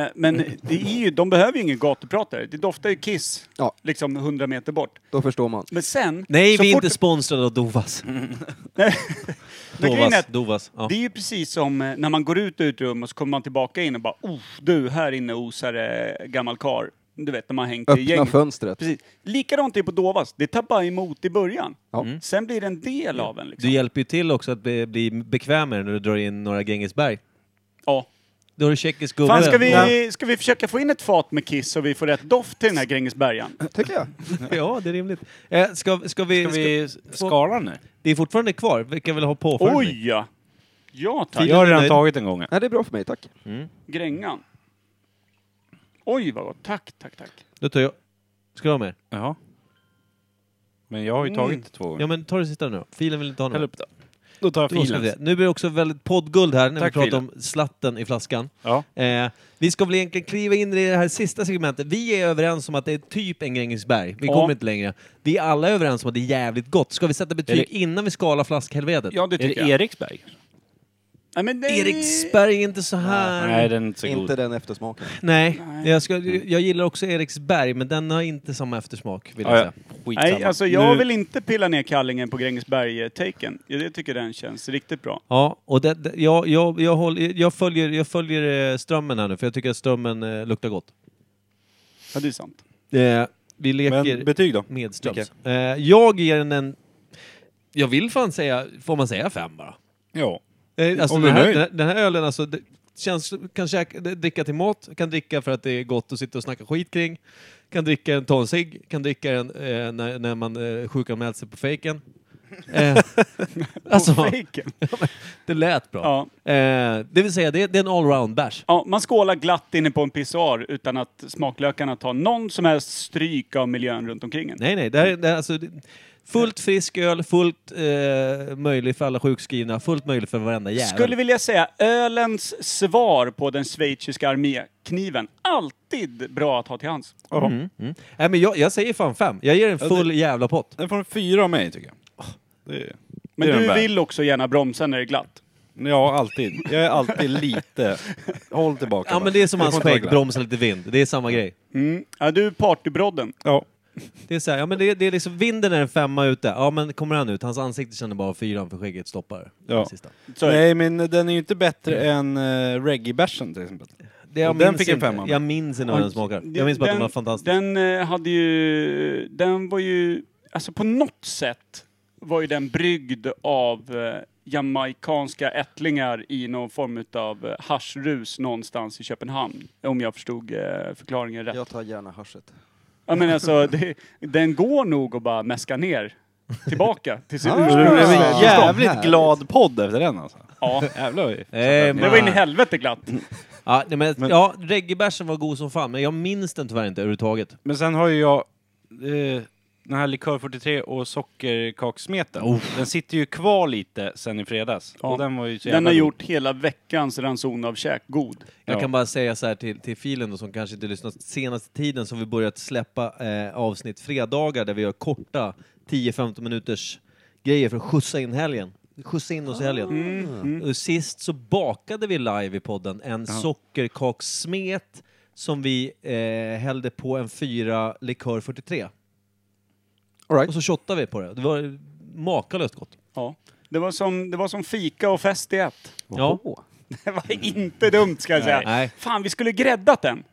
Speaker 2: Eh, men det är ju, de behöver ju ingen gatupratare. Det doftar ju kiss,
Speaker 4: Ja.
Speaker 2: liksom 100 meter bort.
Speaker 4: Då förstår man.
Speaker 2: Men sen...
Speaker 5: Nej,
Speaker 2: så
Speaker 5: vi är
Speaker 2: fort-
Speaker 5: inte sponsrade av Dovas.
Speaker 2: Men grejen är
Speaker 5: Dovas,
Speaker 2: att
Speaker 5: Dovas. Ja.
Speaker 2: Det är ju precis som eh, när man går ut ur ett rum och så kommer man tillbaka in och bara oh, du, här inne osar eh, gammal kar. Du vet, när man har hängt i
Speaker 4: Öppna
Speaker 2: gäng.
Speaker 4: fönstret.
Speaker 2: Precis. Likadant är det på Dovas. Det tar bara emot i början.
Speaker 4: Ja.
Speaker 2: Sen blir det en del av en. Liksom.
Speaker 5: Du hjälper ju till också att bli, bli bekvämare när du drar in några Grängesberg.
Speaker 2: Ja.
Speaker 5: Då har du tjeckisk gubbe.
Speaker 2: Fan, ska
Speaker 5: Ja.
Speaker 2: vi, ska vi försöka få in ett fat med Kiss så vi får rätt doft till den här Grängesbergan?
Speaker 4: Tycker jag.
Speaker 5: Ja, det är rimligt. Eh, ska, ska, vi,
Speaker 3: Ska vi skala
Speaker 5: skala
Speaker 3: nu?
Speaker 5: Det är fortfarande kvar. Vi kan väl ha påföljning?
Speaker 2: Oj ja! Ja tack.
Speaker 3: Jag har redan
Speaker 5: nöjd.
Speaker 3: tagit en gång.
Speaker 4: Nej, det är bra för mig, tack.
Speaker 2: Grängan. Oj vad gott. Tack, tack, tack.
Speaker 5: Då tar jag... Ska du ha mer?
Speaker 3: Jaha. Men jag har ju tagit två gånger.
Speaker 5: Ja, Mm. men ta det sista nu då. Filen vill inte ha
Speaker 3: Häll
Speaker 5: något.
Speaker 3: upp det.
Speaker 2: Då tar jag
Speaker 5: Då ska vi
Speaker 2: filen.
Speaker 5: se. Nu blir det också väldigt poddguld här när
Speaker 2: Tack,
Speaker 5: vi pratar
Speaker 2: Filen.
Speaker 5: om slatten i flaskan.
Speaker 2: Ja.
Speaker 5: Eh, vi ska väl egentligen kliva in i det här sista segmentet. Vi är överens om att det är typ en Grängesberg. Vi
Speaker 2: Ja.
Speaker 5: kommer inte längre. Vi är alla överens om att det är jävligt gott. Ska vi sätta betyg
Speaker 10: Är det-
Speaker 5: innan vi skalar flaskhelvetet?
Speaker 2: ja, det
Speaker 10: Är
Speaker 2: tycker
Speaker 10: det
Speaker 2: jag.
Speaker 10: Eriksberg?
Speaker 2: Nej, men det...
Speaker 5: Eriksberg är inte så här...
Speaker 10: Nej, den är inte så god.
Speaker 4: Inte den eftersmaken.
Speaker 5: Nej, Jag, ska, jag gillar också Eriksberg, men den har inte samma eftersmak, vill jag
Speaker 3: Ja,
Speaker 5: säga.
Speaker 3: ja.
Speaker 5: Skitsamma.
Speaker 2: Nej, alltså jag
Speaker 5: Nu-
Speaker 2: vill inte pilla ner kallingen på Grängesberg-taken. Ja, det tycker den känns riktigt bra.
Speaker 5: Ja, och det, det, jag, jag, jag, håller, jag, följer, jag följer eh, strömmen här nu, för jag tycker att strömmen eh, luktar gott.
Speaker 2: Ja, det är sant.
Speaker 5: Eh, vi leker
Speaker 3: Men betyg då?
Speaker 5: medströms. Eh, jag ger den en... Jag vill fan säga... Får man säga fem bara?
Speaker 2: Ja.
Speaker 5: Eh, alltså
Speaker 3: Om
Speaker 5: den,
Speaker 3: du
Speaker 5: här,
Speaker 3: är nöjd.
Speaker 5: den, här- den här ölen, alltså... Det, Känns, kan käka, dricka till mat, kan dricka för att det är gott att sitta och snacka skit kring. Kan dricka en, ta en cigg, kan dricka en eh, när, när man eh, sjukanmält sig på fejken. Eh, alltså,
Speaker 2: Faken.
Speaker 5: det lät bra.
Speaker 2: Ja.
Speaker 5: Eh, det vill säga, det, det är en allround-bärs.
Speaker 2: Ja, man skålar glatt inne på en pissoar utan att smaklökarna tar någon som helst stryk av miljön runt omkring en.
Speaker 5: Nej, nej. Det här, är- det här, alltså, det- fullt frisk öl, fullt eh, möjlig för alla sjukskrivna, fullt möjlig för varenda jävel.
Speaker 2: Skulle vilja säga ölens svar på den schweiziska armékniven. Alltid bra att ha till hands.
Speaker 5: Mm, mm. Nej, men jag, jag säger fan fem. Jag ger en
Speaker 3: Ja, det-
Speaker 5: full jävla pott.
Speaker 3: Den får en fyra av mig tycker jag. Det är,
Speaker 2: Men
Speaker 3: det är den
Speaker 2: du
Speaker 3: värd.
Speaker 2: vill också gärna bromsa när det är glatt.
Speaker 3: Ja, alltid. Jag är alltid lite... Håll tillbaka
Speaker 5: Ja,
Speaker 3: bara.
Speaker 5: men det är som
Speaker 3: Du
Speaker 5: hans
Speaker 3: får inte vara
Speaker 5: skägg,
Speaker 3: glad.
Speaker 5: bromsa lite vind. Det är samma grej.
Speaker 2: Mm. Ja, du är partybrodden.
Speaker 3: Ja.
Speaker 5: Det är så här, ja, men det, det är liksom, vinden är en femma ute. Ja, men kommer han ut? Hans ansikte känner bara fyran för skägget stoppar.
Speaker 3: Ja.
Speaker 5: Sista.
Speaker 2: Så är det.
Speaker 3: Nej, men den är ju inte bättre än uh, reggae-bärsen till exempel.
Speaker 5: Det, jag
Speaker 3: Och den
Speaker 5: minns
Speaker 3: fick en
Speaker 5: inte-
Speaker 3: femma.
Speaker 5: Jag minns inte vad den smakar. Jag minns bara att den var fantastisk.
Speaker 2: Den eh, hade ju... Den var ju... Alltså på något sätt var ju den bryggd av eh, jamaikanska ättlingar i någon form av haschrus någonstans i Köpenhamn. Om jag förstod eh, förklaringen rätt. Ja.
Speaker 4: Jag tar gärna haschet.
Speaker 2: men alltså, det, den går nog att bara mäska ner tillbaka till sin
Speaker 3: Så det blev en
Speaker 2: ursprungsstånd.
Speaker 3: jävligt glad podd efter den alltså.
Speaker 2: Ja,
Speaker 3: Jävlar vad vi-
Speaker 5: Nej,
Speaker 2: det var in i
Speaker 3: Ah.
Speaker 5: man.
Speaker 2: helvete glatt.
Speaker 5: Eh, Ja, nej, men,
Speaker 3: Men-
Speaker 5: ja, reggaebärsen var god som fan, men jag minns den tyvärr inte överhuvudtaget.
Speaker 3: Men sen har ju jag eh, den här likör 43 och sockerkaksmeten. Den sitter ju kvar lite sen i fredags.
Speaker 2: Ja.
Speaker 3: Och den var ju så
Speaker 2: Den har
Speaker 3: jävla god.
Speaker 2: gjort hela veckans ranson av käk god.
Speaker 5: Jag
Speaker 3: Ja.
Speaker 5: kan bara säga så här till, till filen då, som kanske inte lyssnat senaste tiden, så har vi börjat släppa eh, avsnitt fredagar där vi gör korta 10-15 minuters grejer för att skjutsa in helgen. Skjutsa in oss i
Speaker 2: Ah.
Speaker 5: helgen.
Speaker 2: Mm,
Speaker 5: Och sist så bakade vi live i podden en sockerkakssmet som vi eh, hällde på en fyra likör 43.
Speaker 4: All right.
Speaker 5: Och så shottade vi på det. Det var makalöst gott.
Speaker 2: Ja. Det var, som, det var som fika och fest i ett.
Speaker 5: Ja.
Speaker 2: Det var inte dumt ska jag säga.
Speaker 5: Nej.
Speaker 2: Fan, vi skulle gräddat den.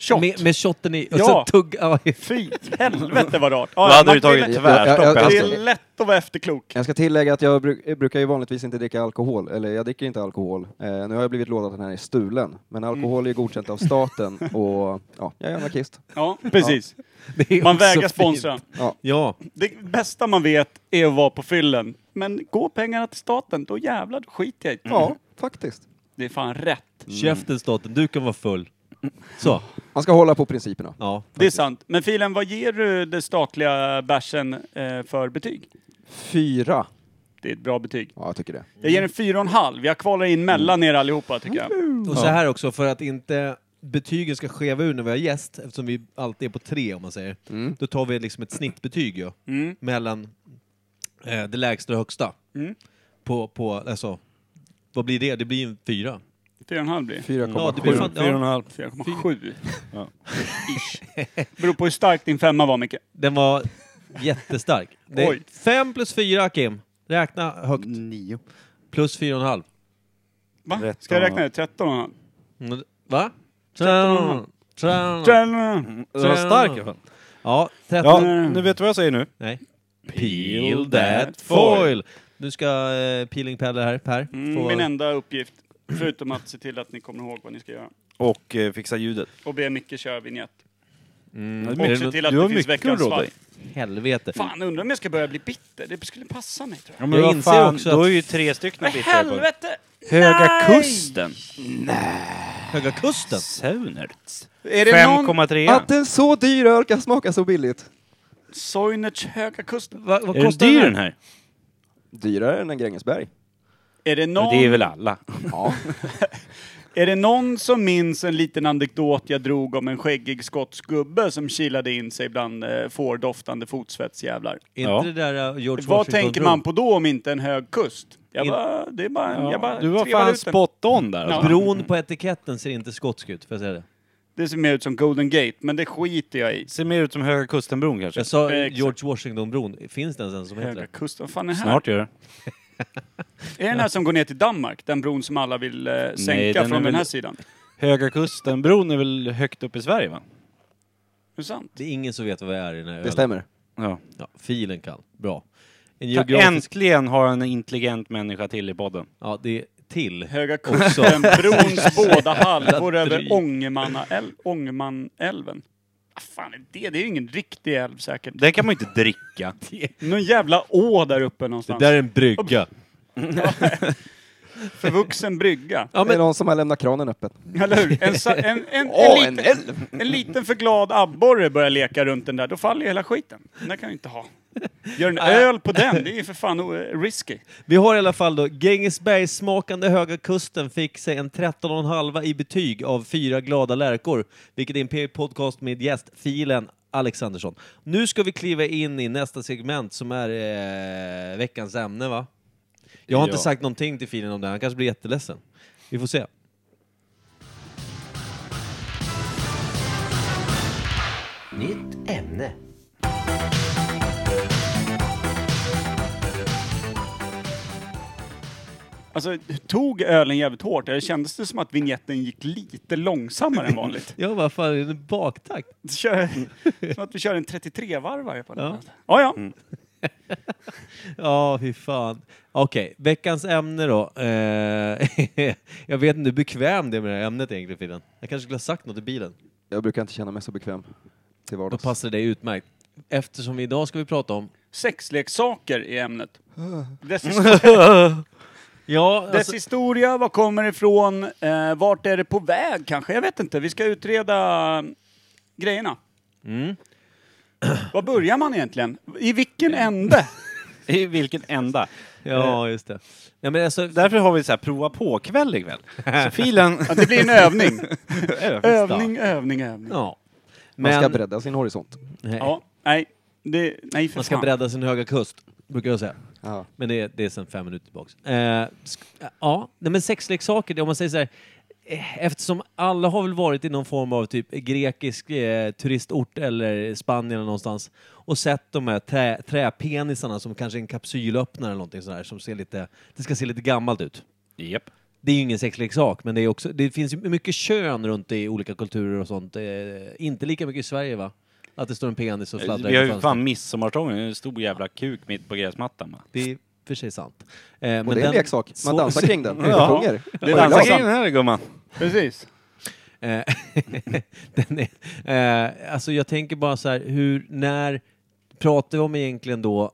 Speaker 2: Shot.
Speaker 5: Med, med shotten i... Och
Speaker 2: Ja.
Speaker 5: så tugga...
Speaker 2: Fy helvete vad rart. Ja,
Speaker 3: Då hade
Speaker 2: man-
Speaker 3: du tagit
Speaker 2: det-
Speaker 3: tvärstopp
Speaker 4: jag-
Speaker 3: i
Speaker 4: jag-
Speaker 2: Det
Speaker 3: halsen.
Speaker 2: är lätt att vara efterklok.
Speaker 4: Jag ska tillägga att jag, bruk, jag brukar ju vanligtvis inte dricka alkohol, eller jag dricker inte alkohol. Eh, nu har jag blivit lovad att den här är stulen, men
Speaker 5: Mm.
Speaker 4: alkohol är ju godkänt av staten och ja, jag är anarkist.
Speaker 5: Mm.
Speaker 2: Ja, precis.
Speaker 5: Det är
Speaker 2: Man
Speaker 5: också
Speaker 2: vägrar
Speaker 5: fint.
Speaker 2: sponsra.
Speaker 5: Ja.
Speaker 2: Det bästa man vet är att vara på fyllen. Men går pengarna till staten, då jävlar då skiter jag i
Speaker 5: Mm.
Speaker 2: det.
Speaker 4: Ja, faktiskt.
Speaker 2: Det är fan rätt.
Speaker 5: Käften staten, du kan vara full. Så,
Speaker 4: Man ska hålla på principerna.
Speaker 5: ja.
Speaker 2: Det är sant. Men filen, vad ger du den statliga bärsen eh, för betyg?
Speaker 4: Fyra.
Speaker 2: Det är ett bra betyg.
Speaker 4: Ja, jag tycker det.
Speaker 2: Jag ger den fyra och en halv. Jag kvalar in mellan er allihopa tycker jag.
Speaker 5: Och så här också, för att inte betygen ska skeva ur när vi har gäst, eftersom vi alltid är på tre om man säger, då tar vi liksom ett snittbetyg ju,
Speaker 2: Mm.
Speaker 5: mellan eh, det lägsta och det högsta.
Speaker 2: Mm.
Speaker 5: På, på, alltså, vad blir det? Det blir ju en fyra.
Speaker 2: Fyra och en halv blir det.
Speaker 5: Ja, det
Speaker 4: 4,7.
Speaker 5: blir fan,
Speaker 3: Fyra och en
Speaker 5: ja,
Speaker 3: halv.
Speaker 2: 4,7. Ish. Beror på hur stark din femma var, Micke.
Speaker 5: den var jättestark. Det är
Speaker 2: Oj.
Speaker 5: fem plus fyra, Kim. Räkna högt.
Speaker 4: Nio.
Speaker 5: Plus fyra och en halv.
Speaker 2: Va?
Speaker 3: Rätt
Speaker 2: Ska jag
Speaker 3: och-
Speaker 2: räkna det? 13
Speaker 5: Mm, Va?
Speaker 2: Tretton.
Speaker 5: Tretton.
Speaker 2: mm.
Speaker 3: Den var stark i alla fall.
Speaker 5: Ja,
Speaker 3: Ja,
Speaker 5: tretton.
Speaker 3: nu vet du vad jag säger nu.
Speaker 5: Nej.
Speaker 3: Peel
Speaker 5: that
Speaker 3: that
Speaker 5: foil!
Speaker 3: foil.
Speaker 5: Du ska eh, peeling paddle här, Per.
Speaker 2: mm,
Speaker 5: Få-
Speaker 2: Min enda uppgift, förutom att se till att ni kommer ihåg vad ni ska göra.
Speaker 3: Och eh, fixa ljudet.
Speaker 2: Och be Micke köra vignett.
Speaker 5: Mm.
Speaker 2: Och
Speaker 5: Är
Speaker 2: se
Speaker 5: det
Speaker 2: till att
Speaker 3: du
Speaker 2: Mm. det
Speaker 3: har
Speaker 2: finns
Speaker 3: mycket
Speaker 2: veckans
Speaker 3: att råda
Speaker 2: svar.
Speaker 3: i.
Speaker 5: Helvete.
Speaker 2: Fan, undrar om jag ska börja bli bitter? Det skulle passa mig, tror jag.
Speaker 5: men vad fan, då
Speaker 3: Då
Speaker 5: är
Speaker 3: är ju tre stycken
Speaker 2: Men helvete!
Speaker 3: Höga
Speaker 2: Nej!
Speaker 3: Kusten.
Speaker 5: Höga kusten.
Speaker 3: Saunerts.
Speaker 2: Är det någon...
Speaker 3: 5,3.
Speaker 4: Att en så dyr öl kan smaka så billigt.
Speaker 2: Soinerts Höga Kusten?
Speaker 5: Va, vad
Speaker 3: Är den
Speaker 5: kostar
Speaker 3: dyr
Speaker 5: här?
Speaker 3: den här?
Speaker 4: Dyrare än en Grängesberg.
Speaker 2: Är det
Speaker 3: Men
Speaker 2: någon...
Speaker 3: det är väl alla.
Speaker 4: Ja.
Speaker 2: Är det någon som minns en liten anekdot jag drog om en skäggig skotsk gubbe som kilade in sig bland eh, fårdoftande fotsvetsjävlar?
Speaker 5: Är inte
Speaker 3: Ja.
Speaker 5: det där eh, George
Speaker 2: Vad
Speaker 5: Washington
Speaker 2: tänker
Speaker 5: drog?
Speaker 2: man på då om inte en hög kust? Jag
Speaker 5: In-
Speaker 2: bara, det är bara, jag bara
Speaker 3: du var
Speaker 2: trevar
Speaker 3: fan
Speaker 2: ut den.
Speaker 3: spot on där.
Speaker 2: Ja.
Speaker 3: alltså.
Speaker 5: Bron på etiketten ser inte skotsk ut, får jag säga det?
Speaker 2: Det ser mer ut som Golden Gate, men det skiter jag i.
Speaker 3: Ser mer ut som Höga Kusten-bron kanske.
Speaker 5: Jag sa
Speaker 2: Exakt.
Speaker 5: George Washington-bron. Finns det ens en som heter
Speaker 2: Höga
Speaker 5: det?
Speaker 2: kusten, vad fan är det här?
Speaker 3: Snart gör det.
Speaker 2: Är det den här som går ner till Danmark? Den bron som alla vill eh, sänka
Speaker 3: Nej, den
Speaker 2: från
Speaker 3: är
Speaker 2: den
Speaker 3: väl-
Speaker 2: här sidan?
Speaker 3: Höga Kusten-bron är väl högt upp i Sverige va?
Speaker 2: Är det sant?
Speaker 5: Det är ingen som vet vad det är i den här
Speaker 4: Det
Speaker 5: ölen.
Speaker 4: stämmer.
Speaker 3: Ja.
Speaker 5: Ja, filen kan. Bra. En
Speaker 3: Ta-
Speaker 5: geografisk...
Speaker 3: Äntligen har en intelligent människa till i podden.
Speaker 5: Ja, det är till.
Speaker 2: Höga
Speaker 5: Också.
Speaker 2: kusten, brons båda halvor över
Speaker 5: Dryg.
Speaker 2: Ångermannaäl- Ångermanälven. Vad fan är det? Det är ju ingen riktig älv säkert.
Speaker 3: Den kan man ju inte dricka.
Speaker 2: Någon jävla å där uppe
Speaker 5: Det
Speaker 2: någonstans.
Speaker 5: där är en brygga.
Speaker 2: Förvuxen brygga.
Speaker 5: Ja,
Speaker 4: Det är
Speaker 5: men
Speaker 4: någon som har lämnat kranen öppen.
Speaker 2: Eller hur? En, sa- en, en, en,
Speaker 4: Åh, en
Speaker 2: liten,
Speaker 4: älv!
Speaker 2: en liten för glad abborre börjar leka runt den där, då faller ju hela skiten. Den där kan vi inte ha. Gör en öl på den, det är ju för fan o- risky.
Speaker 5: vi har i alla fall då Grängesbergs smakande Höga Kusten fick sig en 13,5 i betyg av fyra glada lärkor, vilket är en P- podcast med gäst filen Alexandersson. Nu ska vi kliva in i nästa segment som är eh, veckans ämne, va? Jag har inte
Speaker 3: Ja.
Speaker 5: sagt någonting till filen om det här. han kanske blir jätteledsen. Vi får se.
Speaker 9: Nytt ämne.
Speaker 2: Alltså, tog ölen jävligt hårt? Eller kändes det som att vignetten gick lite långsammare än vanligt?
Speaker 5: Ja, vad fan, är det en baktakt?
Speaker 2: Kör, som att vi kör en 33-varvare på den.
Speaker 5: Ja.
Speaker 2: Ja, ja. ja.
Speaker 5: Ja, fy fan. Okej, veckans ämne då. Eh, jag vet inte hur bekväm det är med det här ämnet egentligen, Filen. Jag kanske skulle ha sagt något i bilen.
Speaker 4: Jag brukar inte känna mig så bekväm till
Speaker 5: Då
Speaker 4: vardags.
Speaker 5: passar det dig utmärkt. Eftersom vi idag ska vi prata om...
Speaker 2: Sexleksaker i ämnet. Dess historia,
Speaker 5: Ja, alltså,
Speaker 2: dess historia var kommer det ifrån, eh, vart är det på väg kanske? Jag vet inte, vi ska utreda mm, grejerna.
Speaker 5: Mm.
Speaker 2: Var börjar man egentligen? I vilken ände?
Speaker 3: I vilken ända.
Speaker 5: ja just det. Ja, eh, men alltså,
Speaker 3: Därför har vi så här prova på-kväll ikväll. Så filen...
Speaker 2: Ja, det blir en övning.
Speaker 3: Övning.
Speaker 2: övning, övning, övning. Ja.
Speaker 5: ja.
Speaker 4: Man
Speaker 5: Men,
Speaker 4: ska bredda sin horisont.
Speaker 5: nej,
Speaker 2: nej. Det, nej, för
Speaker 5: man ska
Speaker 2: fan.
Speaker 5: bredda sin höga kust, brukar jag säga.
Speaker 4: Ja.
Speaker 5: Men det, det är sedan fem minuter tillbaks. Eh, sk- ja, nej, men sexleksaker, det- om man säger så här. eh, Eftersom alla har väl varit i någon form av typ grekisk eh, turistort eller Spanien eller någonstans och sett de här trä, träpenisarna som kanske är en kapsylöppnare eller någonting sådär som ser lite, det ska se lite gammalt ut.
Speaker 3: Japp.
Speaker 5: Det är ju ingen sexleksak, men det, är också, det finns ju mycket kön runt i olika kulturer och sånt. Eh, inte lika mycket i Sverige va? Att det står en penis och fladdrar
Speaker 3: Vi har
Speaker 5: i
Speaker 3: ju
Speaker 5: fönstret.
Speaker 3: fan midsommarstången, en stor jävla kuk mitt på gräsmattan. va?
Speaker 5: Det är för sig sant. Eh, men
Speaker 4: Och det är en
Speaker 5: den-
Speaker 4: leksak. Man
Speaker 5: så-
Speaker 4: dansar kring den.
Speaker 3: Ja.
Speaker 4: Ja. Sjunger.
Speaker 3: Det är
Speaker 4: Och
Speaker 3: dansa
Speaker 4: glasen.
Speaker 3: grejen här gumman.
Speaker 2: Precis.
Speaker 5: Eh, den är, eh, alltså jag tänker bara så här, hur, när pratar vi om egentligen då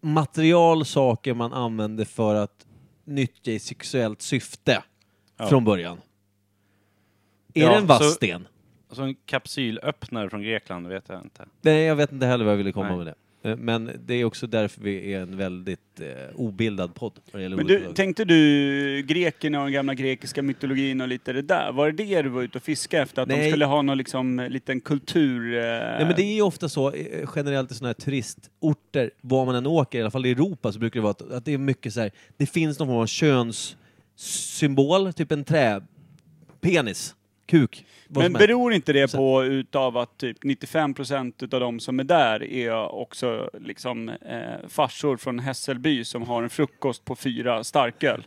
Speaker 5: material, saker man använder för att nyttja i sexuellt syfte
Speaker 3: Ja.
Speaker 5: från början? Är
Speaker 3: Ja,
Speaker 5: det en vass
Speaker 3: så-
Speaker 5: sten?
Speaker 3: Alltså en kapsylöppnare från Grekland, vet jag inte.
Speaker 5: Nej, jag vet inte heller vad jag ville komma
Speaker 3: Nej.
Speaker 5: med det. Eh, Men det är också därför vi är en väldigt eh, obildad podd. vad det gäller
Speaker 2: Men
Speaker 5: olika
Speaker 2: du,
Speaker 5: saker.
Speaker 2: tänkte du grekerna och den gamla grekiska mytologin och lite det där? Var det det du var ute och fiskade efter? Att
Speaker 5: Nej.
Speaker 2: de skulle ha någon liksom, eh, liten kultur... Eh...
Speaker 5: Nej, men det är ju ofta så eh, generellt i sådana här turistorter, var man än åker, i alla fall i Europa, så brukar det vara att, att det är mycket så här, det finns någon form av könssymbol, typ en träpenis, kuk, vad
Speaker 2: Men
Speaker 5: som helst.
Speaker 2: beror inte det på utav att typ 95% utav de som är där är också liksom eh, farsor från Hässelby som har en frukost på fyra starköl?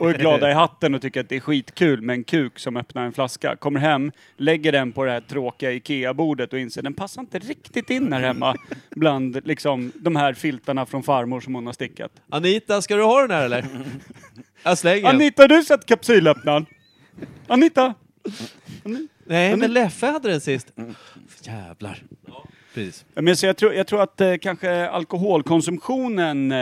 Speaker 2: Och är glada i hatten och tycker att det är skitkul med en kuk som öppnar en flaska. Kommer hem, lägger den på det här tråkiga IKEA-bordet och inser den passar inte riktigt in här hemma bland liksom, de här filtarna från farmor som hon har stickat.
Speaker 5: Anita, ska du ha den här eller? Jag slänger den.
Speaker 2: Anita, har du sett kapsylöppnaren? Anita?
Speaker 5: Nej, men Leffe hade den sist. Jävlar. Precis.
Speaker 2: Ja, Men så jag, tror, jag tror att eh, kanske alkoholkonsumtionen eh,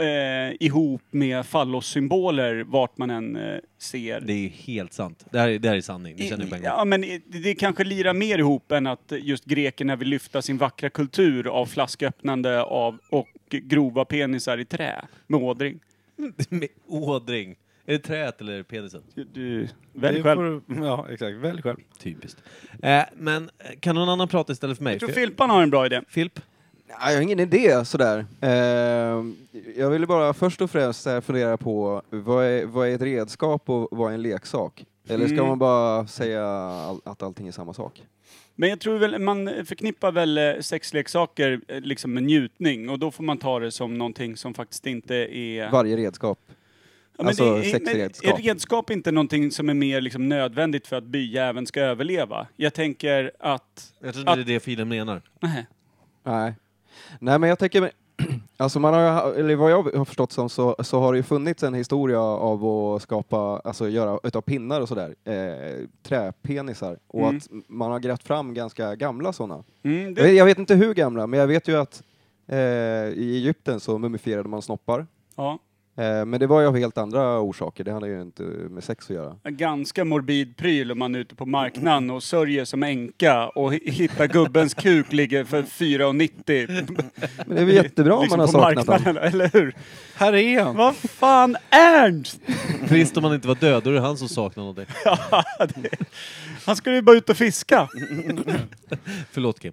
Speaker 2: eh, ihop med fallossymboler vart man än eh, ser.
Speaker 5: Det är ju helt sant. Det här är, det här är sanning, det känner jag på en gång.
Speaker 2: ja, men i- det kanske lirar mer ihop än att just grekerna vill lyfta sin vackra kultur av flasköppnande av, och grova penisar i trä med ådring.
Speaker 5: Med ådring. Är det träet eller penisen?
Speaker 2: Du, du välj
Speaker 3: Det
Speaker 2: själv.
Speaker 3: får du- Ja, exakt. Välj själv.
Speaker 5: Typiskt. Eh, men kan någon annan prata istället för mig?
Speaker 2: Jag tror Filpan har en bra idé.
Speaker 5: Filip?
Speaker 4: Nej, jag har ingen idé sådär. Eh, jag ville bara först och främst så här fundera på vad är, vad är ett redskap och vad är en leksak? Eller ska
Speaker 2: Mm.
Speaker 4: man bara säga all, att allting är samma sak?
Speaker 2: Men jag tror väl, man förknippar väl eh, sexleksaker eh, liksom med njutning och då får man ta det som någonting som faktiskt inte är...
Speaker 4: Varje redskap.
Speaker 2: Ja, men
Speaker 4: Alltså,
Speaker 2: det är-
Speaker 4: sexredskap.
Speaker 2: men Är redskap inte någonting som är mer liksom nödvändigt för att byjäveln ska överleva? Jag tänker att...
Speaker 5: Jag tror inte det är det Filip menar.
Speaker 2: Nej.
Speaker 4: Nej. Nej, men jag tänker... Alltså man har, ju- eller vad jag har förstått som så, så har det ju funnits en historia av att skapa, alltså göra utav pinnar och sådär, eh, träpenisar. Och
Speaker 2: Mm.
Speaker 4: att man har grävt fram ganska gamla sådana.
Speaker 2: Mm,
Speaker 4: Jag vet-
Speaker 2: det,
Speaker 4: Jag vet inte hur gamla, men jag vet ju att eh, i Egypten så mumifierade man snoppar.
Speaker 2: ja.
Speaker 4: Eh, men det var ju av helt andra orsaker, det hade ju inte med sex att göra.
Speaker 2: En ganska morbid pryl om man är ute på marknaden och sörjer som änka och hi- hittar gubbens kuk ligger för 4,90.
Speaker 4: Men det är väl jättebra om
Speaker 2: Liksom
Speaker 4: man har
Speaker 2: på
Speaker 4: saknat dem.
Speaker 2: marknaden, Eller hur?
Speaker 3: Här är han!
Speaker 2: Vad fan, Ernst!
Speaker 5: Trist om han inte var död, då är det han som saknar någonting.
Speaker 2: Han skulle ju bara ut och fiska.
Speaker 4: Mm.
Speaker 5: Förlåt Kim.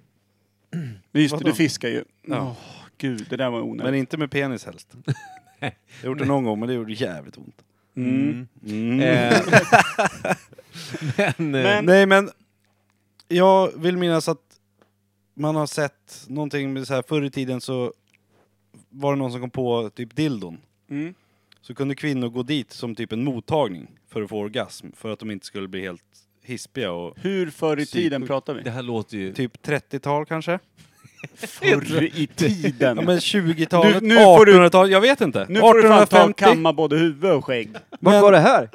Speaker 2: Men just det,
Speaker 3: Vadå?
Speaker 2: du fiskar ju. Åh,
Speaker 3: Ja.
Speaker 2: gud, det där var
Speaker 3: Men
Speaker 2: onödigt.
Speaker 3: inte med penis helst. Jag gjorde det någon gång, men det gjorde jävligt ont.
Speaker 2: Mm.
Speaker 5: Eh, men, eh,
Speaker 2: Men-
Speaker 3: Nej, men jag vill minnas att man har sett någonting med så här, förr i tiden så var det någon som kom på typ dildon.
Speaker 2: Mm.
Speaker 3: Så kunde kvinnor gå dit som typ en mottagning för att få orgasm, för att de inte skulle bli helt hispiga och
Speaker 2: Hur förr i tiden pratar vi?
Speaker 5: det här låter ju...
Speaker 3: typ 30-tal kanske?
Speaker 2: Förr i
Speaker 3: Ja
Speaker 2: tiden.
Speaker 3: men 20-talet,
Speaker 2: Nu- nu får du-
Speaker 3: 1800-talet, jag vet inte.
Speaker 2: Nu får du fan ta och
Speaker 3: 1850.
Speaker 2: kamma både huvud och skägg.
Speaker 4: Vart
Speaker 3: Men-
Speaker 4: var det här?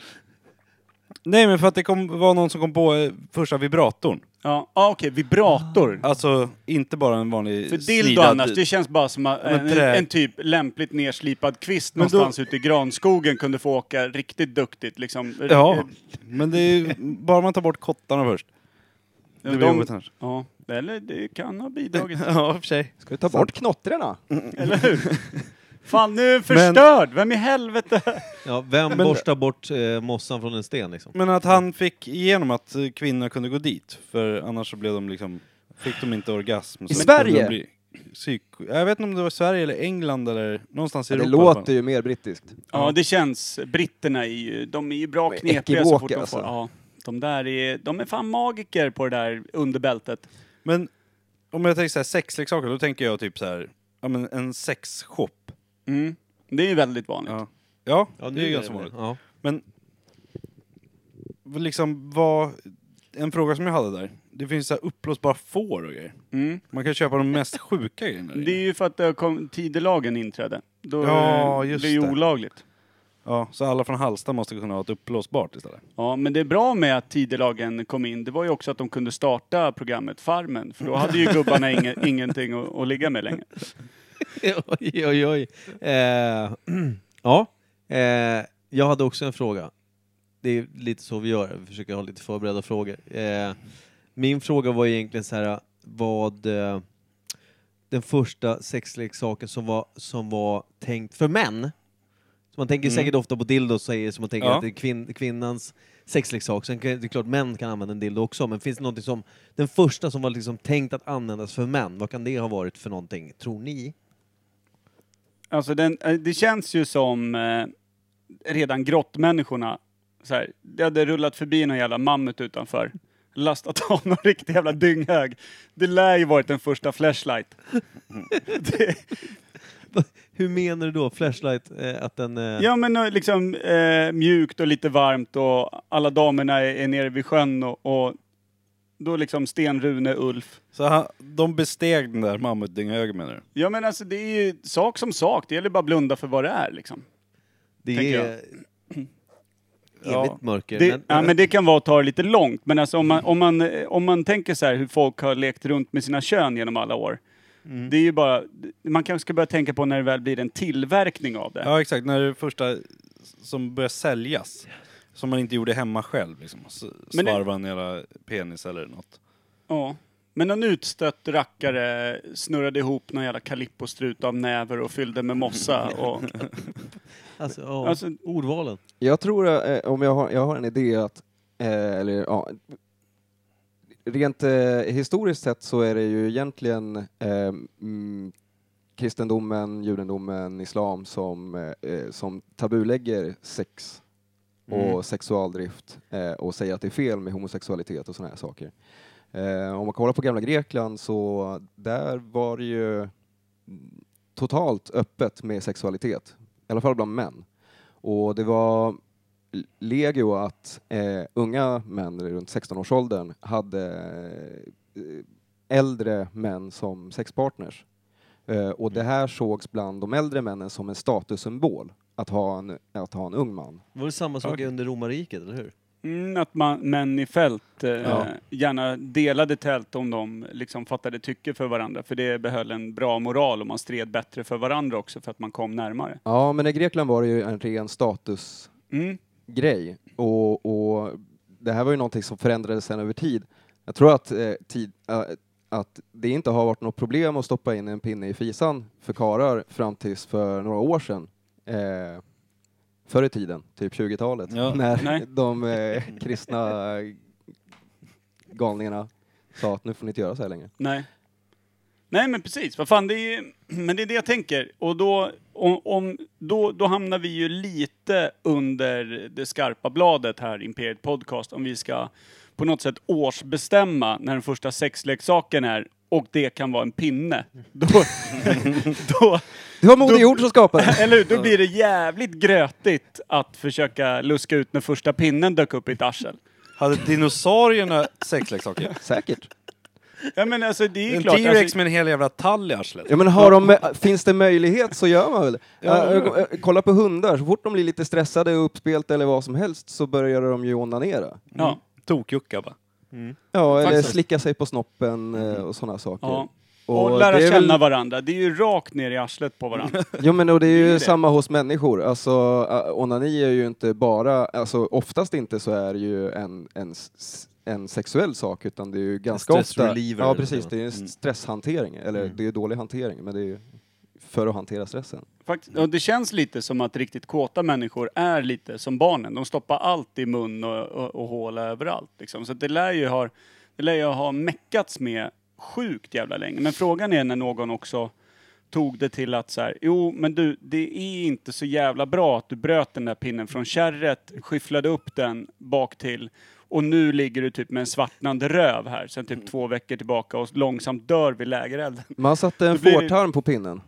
Speaker 3: Nej men för att det kom, var någon som kom på eh, första vibratorn.
Speaker 2: Ja, ah, okej, vibrator.
Speaker 3: Alltså inte bara en vanlig
Speaker 2: För dildo
Speaker 3: slidad-
Speaker 2: annars, det känns bara som att
Speaker 3: Men
Speaker 2: en,
Speaker 3: trä.
Speaker 2: en typ lämpligt nerslipad kvist
Speaker 3: Men då-
Speaker 2: någonstans ute i granskogen kunde få åka riktigt duktigt liksom.
Speaker 3: Ja, men det är ju, bara man tar bort kottarna först. Det
Speaker 2: Eh,
Speaker 3: blir
Speaker 2: de-
Speaker 3: jobbigt annars.
Speaker 2: Ja, eller det kan ha bidragit.
Speaker 3: Ja, i och för sig.
Speaker 4: Ska vi ta bort knottrarna?
Speaker 2: Eller hur? Fan, nu är jag förstörd! Vem i helvete?
Speaker 5: Ja, vem borstar bort eh, mossan från en sten liksom?
Speaker 3: Men att han fick igenom att eh, kvinnor kunde gå dit, för annars så blev de liksom, fick de inte orgasm. Så
Speaker 4: I
Speaker 3: kunde
Speaker 4: Sverige?
Speaker 3: de bli Psyko. Jag vet inte om det var Sverige eller England eller någonstans i
Speaker 4: Det
Speaker 3: Europa. i alla fall.
Speaker 4: låter ju mer brittiskt.
Speaker 2: Ja, det känns. Britterna är ju, de är ju bra
Speaker 4: De är
Speaker 2: knepiga så fort de
Speaker 4: ekivoka,
Speaker 2: får.
Speaker 4: alltså.
Speaker 2: Ja, de där är, de är fan magiker på det där underbältet.
Speaker 3: Men om jag tänker så här sexleksaker, då tänker jag typ så här, ja men en sexshop.
Speaker 2: Mm. Det är ju väldigt vanligt.
Speaker 3: Ja, ja, det är ju
Speaker 5: nu
Speaker 3: ganska vanligt.
Speaker 5: Ja.
Speaker 3: Men liksom vad, en fråga som jag hade där. Det finns så här uppblåsbara får och grejer.
Speaker 2: Mm.
Speaker 3: Man kan köpa de mest sjuka grejerna.
Speaker 2: Det är ju för att det kom, tidelagen inträdde. Då
Speaker 3: Ja,
Speaker 2: eh,
Speaker 3: just
Speaker 2: det är ju
Speaker 3: det.
Speaker 2: olagligt.
Speaker 3: Ja, så alla från Halsta måste kunna ha ett uppblåsbart istället.
Speaker 2: Ja, men det är bra med att tidelagen kom in, det var ju också att de kunde starta programmet Farmen, för då hade ju gubbarna inge, ingenting att, att ligga med längre.
Speaker 5: oj, oj, oj. Eh, ja, eh, jag hade också en fråga. Det är lite så vi gör, vi försöker ha lite förberedda frågor. Eh, min fråga var egentligen så här, vad eh, den första sexleksaken som var, som var tänkt för män, så man tänker säkert ofta på dildo, säger, så man tänker
Speaker 3: Ja.
Speaker 5: att det är kvin, kvinnans sexleksak. Sen kan, det är klart män kan använda en dildo också, men finns det någonting som, den första som var liksom tänkt att användas för män, vad kan det ha varit för någonting, tror ni?
Speaker 2: Alltså den, eh, det känns ju som eh, redan grottmänniskorna, så här, det hade rullat förbi någon jävla mammut utanför, lastat av någon riktig jävla dynghög. Det lär ju varit den första flashlight. Det,
Speaker 5: Hur menar du då? Flashlight? Eh, att den... Eh...
Speaker 2: ja men eh, liksom eh, mjukt och lite varmt och alla damerna är, är nere vid sjön och, och då liksom Sten-Rune Ulf.
Speaker 3: Så han, de besteg den där mammutdynghögen menar du?
Speaker 2: Ja men alltså det är ju sak som sak, det gäller bara att blunda för vad det är liksom.
Speaker 5: det
Speaker 2: tänker
Speaker 5: är...
Speaker 2: jag.
Speaker 5: Evigt
Speaker 3: Ja.
Speaker 5: mörker.
Speaker 2: Det,
Speaker 5: men,
Speaker 2: ja, men det kan vara att ta det lite långt, men alltså om, man, om, man, eh, om man tänker så här hur folk har lekt runt med sina kön genom alla år.
Speaker 3: Mm.
Speaker 2: Det är ju bara, man kanske ska börja tänka på när det väl blir en tillverkning av det.
Speaker 3: Ja exakt, när det är första som börjar säljas. Som man inte gjorde hemma själv liksom. S-
Speaker 2: Men det-
Speaker 3: Svarva en jävla penis eller något.
Speaker 2: Ja. Men någon utstött rackare snurrade ihop någon jävla kalippostrut av näver och fyllde med mossa. Och,
Speaker 5: Alltså, ja,
Speaker 2: Alltså-
Speaker 5: ordvalen.
Speaker 4: Jag tror, eh, om jag har, jag har en idé att, eh, eller ja, rent eh, historiskt sett så är det ju egentligen eh, mm, kristendomen, judendomen, islam som, eh, eh, som tabulägger sex och sexualdrift eh, och säger att det är fel med homosexualitet och sådana här saker. Eh, om man kollar på gamla Grekland så där var det ju mm, totalt öppet med sexualitet, i alla fall bland män. Och det var l- legio att eh, unga män runt 16-årsåldern hade eh, äldre män som sexpartners. Eh, och det här sågs bland de äldre männen som en statussymbol, att ha en, att ha en ung man.
Speaker 5: Det var väl samma sak under romarriket, eller hur?
Speaker 2: mm, att man, män i fält eh,
Speaker 4: Ja.
Speaker 2: gärna delade tält om de liksom fattade tycke för varandra. För det behöll en bra moral och man stred bättre för varandra också för att man kom närmare.
Speaker 4: Ja, men i Grekland var det ju en ren status
Speaker 2: Mm.
Speaker 4: grej. Och, och det här var ju någonting som förändrades sen över tid. Jag tror att, eh, tid, eh, att det inte har varit något problem att stoppa in en pinne i fisan för karlar fram tills för några år sedan. Eh, förr i tiden, typ 20-talet,
Speaker 3: Ja.
Speaker 4: när
Speaker 2: Nej.
Speaker 4: de eh, kristna galningarna sa att nu får ni inte göra så här längre.
Speaker 2: Nej. Nej men precis, vad fan det är ju, men det är det jag tänker. Och då, om, om, då, då hamnar vi ju lite under det skarpa bladet här, Imperiet Podcast, om vi ska på något sätt årsbestämma när den första sexleksaken är och det kan vara en pinne. Då, då,
Speaker 4: Det var Moder Jord som skapade det!
Speaker 2: eller hur? Då blir det jävligt grötigt att försöka luska ut när första pinnen dök upp i ett arsel.
Speaker 3: Hade dinosaurierna sexleksaker?
Speaker 4: Säkert.
Speaker 2: Ja men alltså det är ju
Speaker 3: En
Speaker 2: klart.
Speaker 3: T-Rex
Speaker 2: alltså,
Speaker 3: med en hel jävla tall i arslet.
Speaker 4: Ja, men har de, finns det möjlighet så gör man väl. Äh, äh, kolla på hundar, så fort de blir lite stressade och uppspelta eller vad som helst så börjar de ju onanera.
Speaker 2: ja.
Speaker 3: Tokjucka bara.
Speaker 4: Ja, eller
Speaker 2: Faktiskt.
Speaker 4: slicka sig på snoppen eh, och sådana saker.
Speaker 2: Ja. Och, lära
Speaker 4: det är
Speaker 2: känna
Speaker 4: väl,
Speaker 2: varandra. Det är ju rakt ner i arslet på varandra.
Speaker 4: Jo men och det är ju
Speaker 2: det.
Speaker 4: samma hos människor, alltså äh, onani är ju inte bara, alltså oftast inte så är det ju en, en, s- en sexuell sak utan det är ju ganska
Speaker 5: stress
Speaker 4: ofta...
Speaker 5: reliever
Speaker 4: Ja
Speaker 5: eller Mm.
Speaker 4: precis,
Speaker 5: något.
Speaker 4: det är ju en stresshantering, eller det är ju dålig hantering men det är ju för att hantera stressen.
Speaker 2: Fakt- och det känns lite som att riktigt kåta människor är lite som barnen. De stoppar allt i mun och, och, och hål överallt. Liksom. Så att det lär ju ha, det lär ju ha meckats med sjukt jävla länge. Men frågan är när någon också tog det till att så här, jo men du, det är inte så jävla bra att du bröt den där pinnen från kärret, skyfflade upp den bak till och nu ligger du typ med en svartnande röv här sen typ två veckor tillbaka och långsamt dör vid lägerelden.
Speaker 4: Man satte en
Speaker 2: Då blir det-
Speaker 4: fårtarm på pinnen.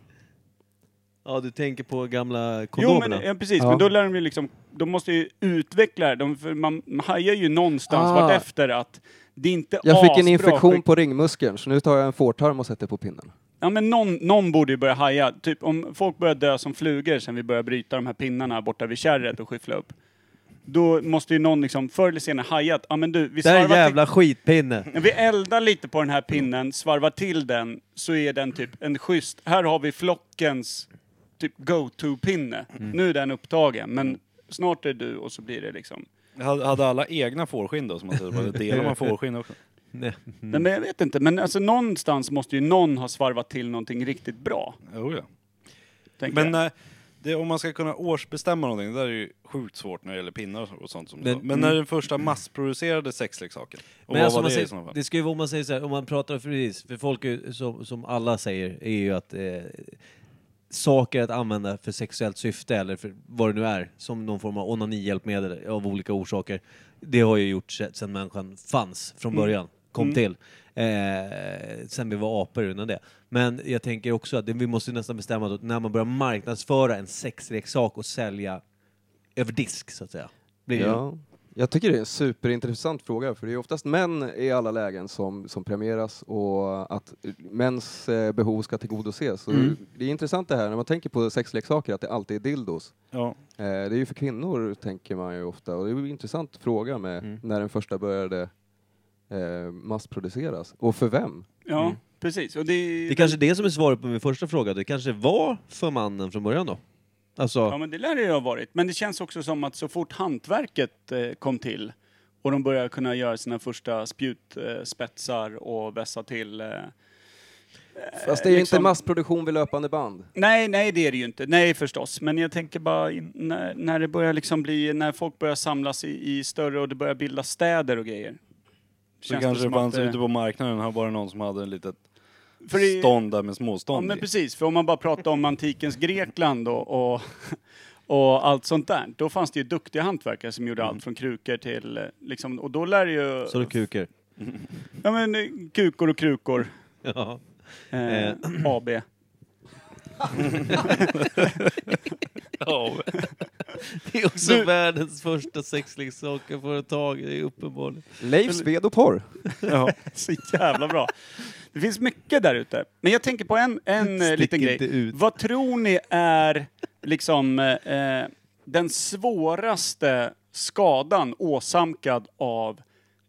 Speaker 5: Ja, du tänker på gamla
Speaker 2: Jo,
Speaker 5: kondomerna.
Speaker 2: men, ja, precis.
Speaker 4: Ja.
Speaker 2: Men då lär de ju liksom, de måste ju utveckla det. De, för man man hajar ju någonstans
Speaker 4: Ah.
Speaker 2: vartefter att det är inte
Speaker 4: Jag fick en
Speaker 2: asbra
Speaker 4: infektion
Speaker 2: skick-
Speaker 4: på ringmuskeln, så nu tar jag en fårtarm och sätter på pinnen.
Speaker 2: Ja, men någon, någon borde ju börja haja. Typ om folk börjar dö som flugor sen vi börjar bryta de här pinnarna borta vid kärret och skyffla upp. Då måste ju någon liksom förr eller senare haja att, ja men du, vi
Speaker 5: Där
Speaker 2: till-
Speaker 5: jävla skitpinne!
Speaker 2: När vi eldar lite på den här pinnen, svarvar till den, så är den typ en schysst... Här har vi flockens typ go-to-pinne. Nu är den upptagen, men snart är du och så blir det liksom...
Speaker 3: Hade, hade alla egna fårskinn då? Som man säger, Bara delar man fårskinn också?
Speaker 2: Nej, men jag vet inte, men alltså någonstans måste ju någon ha svarvat till någonting riktigt bra.
Speaker 3: Jo, ja.
Speaker 2: tänker
Speaker 3: Men
Speaker 2: jag.
Speaker 3: eh, det, om man ska kunna årsbestämma någonting, det där är ju sjukt svårt när det gäller pinnar och sånt som du
Speaker 5: Men-
Speaker 3: sa. Men när den första massproducerade sexleksaken?
Speaker 5: Men
Speaker 3: Och vad
Speaker 5: alltså,
Speaker 3: var
Speaker 5: man
Speaker 3: det i
Speaker 5: säger,
Speaker 3: sådana
Speaker 5: det
Speaker 3: fall?
Speaker 5: ska ju vara om man säger så här, om man pratar för precis, för folk är, ju- som, som alla säger är ju att eh, saker att använda för sexuellt syfte eller för vad det nu är, som någon form av onanihjälpmedel av olika orsaker. Det har ju gjorts sedan människan fanns från
Speaker 3: Mm.
Speaker 5: början, kom till. Eh, sen vi var apor innan det. Men jag tänker också att det, vi måste nästan bestämma att när man börjar marknadsföra en sexleksak och sälja över disk så att säga. Blir det ju-
Speaker 4: Ja. Jag tycker det är en superintressant fråga, för det är oftast män i alla lägen som, som premieras och att mäns eh, behov ska tillgodoses. Så
Speaker 2: Mm.
Speaker 4: Det är intressant det här när man tänker på sexleksaker, att det alltid är dildos.
Speaker 3: Ja.
Speaker 4: Eh, det är ju för kvinnor, tänker man ju ofta, och det är ju en intressant fråga med
Speaker 2: Mm.
Speaker 4: när den första började eh, massproduceras. Och för vem?
Speaker 2: Ja, precis. Och det,
Speaker 5: Det är kanske är det som är svaret på min första fråga. Det kanske var för mannen från början då? Alltså,
Speaker 2: Ja, men det lär det ju ha varit. Men det känns också som att så fort hantverket eh, kom till Och de börjar kunna göra sina första spjutspetsar och vässa till eh,
Speaker 4: Fast det är ju
Speaker 2: liksom-
Speaker 4: inte massproduktion vid löpande band.
Speaker 2: Nej, nej det är det ju inte. Nej förstås. Men jag tänker bara in- när, när det börjar liksom bli, när folk börjar samlas i, i större och det börjar bildas städer och grejer.
Speaker 3: Så kanske det fanns
Speaker 2: eh,
Speaker 3: ute på marknaden, här var det någon som hade en litet
Speaker 2: För det-
Speaker 3: stånd där med
Speaker 2: Ja
Speaker 3: småstånd
Speaker 2: men
Speaker 3: i.
Speaker 2: precis, för om man bara pratar om antikens Grekland och, och, och allt sånt där. Då fanns det ju duktiga hantverkare som gjorde allt från krukor till, eh, liksom, och då lär det ju,
Speaker 5: Mm. Så du kuker.
Speaker 2: ja men eh, kukor och krukor,
Speaker 5: Ja.
Speaker 2: eh,
Speaker 5: Eh.
Speaker 2: AB.
Speaker 5: Ja. Det är också världens första sexleksakerföretag, det är uppenbarligen.
Speaker 4: Leif Sved och Porr.
Speaker 2: Ja. Så jävla bra. Det finns mycket där ute. Men jag tänker på en, en eh,
Speaker 5: Stick
Speaker 2: liten grej.
Speaker 5: inte ut.
Speaker 2: Vad tror ni är liksom eh, eh, den svåraste skadan åsamkad av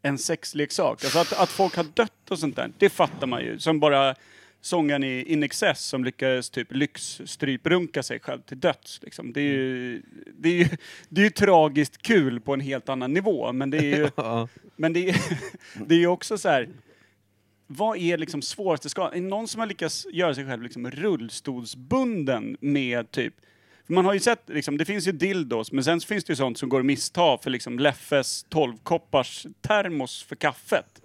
Speaker 2: en sexleksak? Alltså att, att folk har dött och sånt där, det fattar man ju. Som bara sångaren i In Excess som lyckades typ lyxstryprunka sig själv till döds. Liksom. Det, är ju,
Speaker 5: Mm.
Speaker 2: det, är ju, det är ju tragiskt kul på en helt annan nivå, men det är ju... Men det är, det är ju också så här. Vad är liksom svåraste skadan? Är det någon som har lyckats göra sig själv liksom rullstolsbunden med typ... för Man har ju sett, liksom, det finns ju dildos, men sen så finns det ju sånt som går att missta för liksom Leffes 12-koppars termos för kaffet.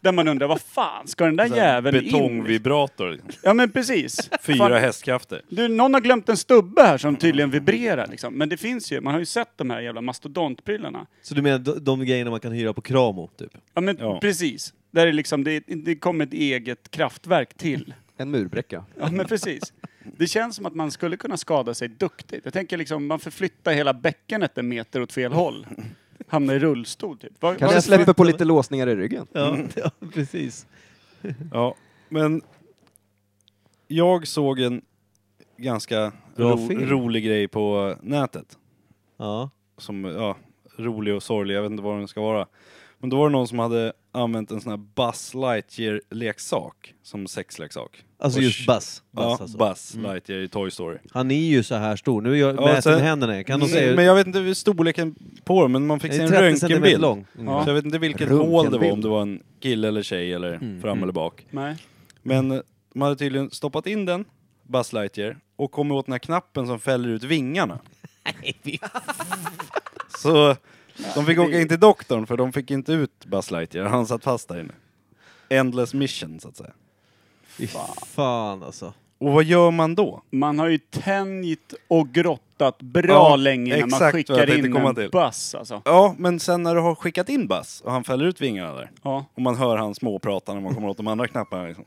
Speaker 2: Där man undrar, vad fan ska den där jäveln in?
Speaker 3: Betongvibrator. liksom.
Speaker 2: Ja men precis.
Speaker 3: Fyra
Speaker 2: Fan,
Speaker 3: hästkrafter.
Speaker 2: du, någon har glömt en stubbe här som tydligen vibrerar liksom. Men det finns ju, man har ju sett de här jävla mastodontprylarna.
Speaker 5: Så du menar de, de grejerna man kan hyra på Kramo, typ?
Speaker 2: Ja men
Speaker 3: Ja.
Speaker 2: precis. Där är liksom, det, det kommer ett eget kraftverk till.
Speaker 4: En murbräcka.
Speaker 2: Ja men precis. Det känns som att man skulle kunna skada sig duktigt. Jag tänker liksom, man förflyttar hela bäckenet en meter åt fel håll. Hamnar i rullstol typ. Var,
Speaker 4: Kanske
Speaker 2: var,
Speaker 4: släpper på lite låsningar i ryggen.
Speaker 5: Ja, ja precis.
Speaker 3: Ja, men jag såg en ganska
Speaker 5: Bra
Speaker 3: ro,
Speaker 5: film.
Speaker 3: rolig grej på nätet.
Speaker 5: Ja.
Speaker 3: Som, ja, rolig och sorglig, jag vet inte vad den ska vara. Men då var det någon som hade använt en sån här Buzz Lightyear-leksak som sexleksak.
Speaker 5: Alltså
Speaker 3: Och
Speaker 5: just
Speaker 3: sh-
Speaker 5: Buzz.
Speaker 3: Ja,
Speaker 5: Buzz, alltså.
Speaker 3: Buzz Lightyear i Toy Story.
Speaker 5: Han är ju så här stor. Nu är jag
Speaker 3: Ja,
Speaker 5: mäter
Speaker 3: sen-
Speaker 5: med händerna. Kan de
Speaker 3: Mm,
Speaker 5: säga...
Speaker 3: Men jag vet inte hur storleken på dem, men man fick
Speaker 5: Den
Speaker 3: se
Speaker 5: är
Speaker 3: en
Speaker 5: 30 centimeter
Speaker 3: röntgenbild.
Speaker 5: lång. Mm.
Speaker 2: Ja.
Speaker 3: Så jag vet inte vilket
Speaker 4: Röntgenbild.
Speaker 3: hål det var, om det var en kille eller tjej eller
Speaker 5: Mm.
Speaker 3: fram eller bak.
Speaker 2: nej.
Speaker 3: Men eh, de hade tydligen stoppat in den, Buzz Lightyear, och kommit åt den här knappen som fäller ut vingarna. Så de fick åka in till doktorn för de fick inte ut Buzz Lightyear, han satt fast där inne. Endless mission så att säga.
Speaker 5: Fy Fan alltså.
Speaker 3: Och vad gör man då?
Speaker 2: Man har ju tänjt och grottat bra
Speaker 3: Ja,
Speaker 2: länge när
Speaker 3: exakt
Speaker 2: man
Speaker 3: vad jag
Speaker 2: skickar
Speaker 3: tänkte
Speaker 2: in
Speaker 3: komma
Speaker 2: en
Speaker 3: till.
Speaker 2: buss alltså.
Speaker 3: Ja, men sen när du har skickat in Buzz och han fäller ut vingarna där,
Speaker 2: Ja.
Speaker 3: och man hör han småprata när man kommer åt de andra knapparna liksom.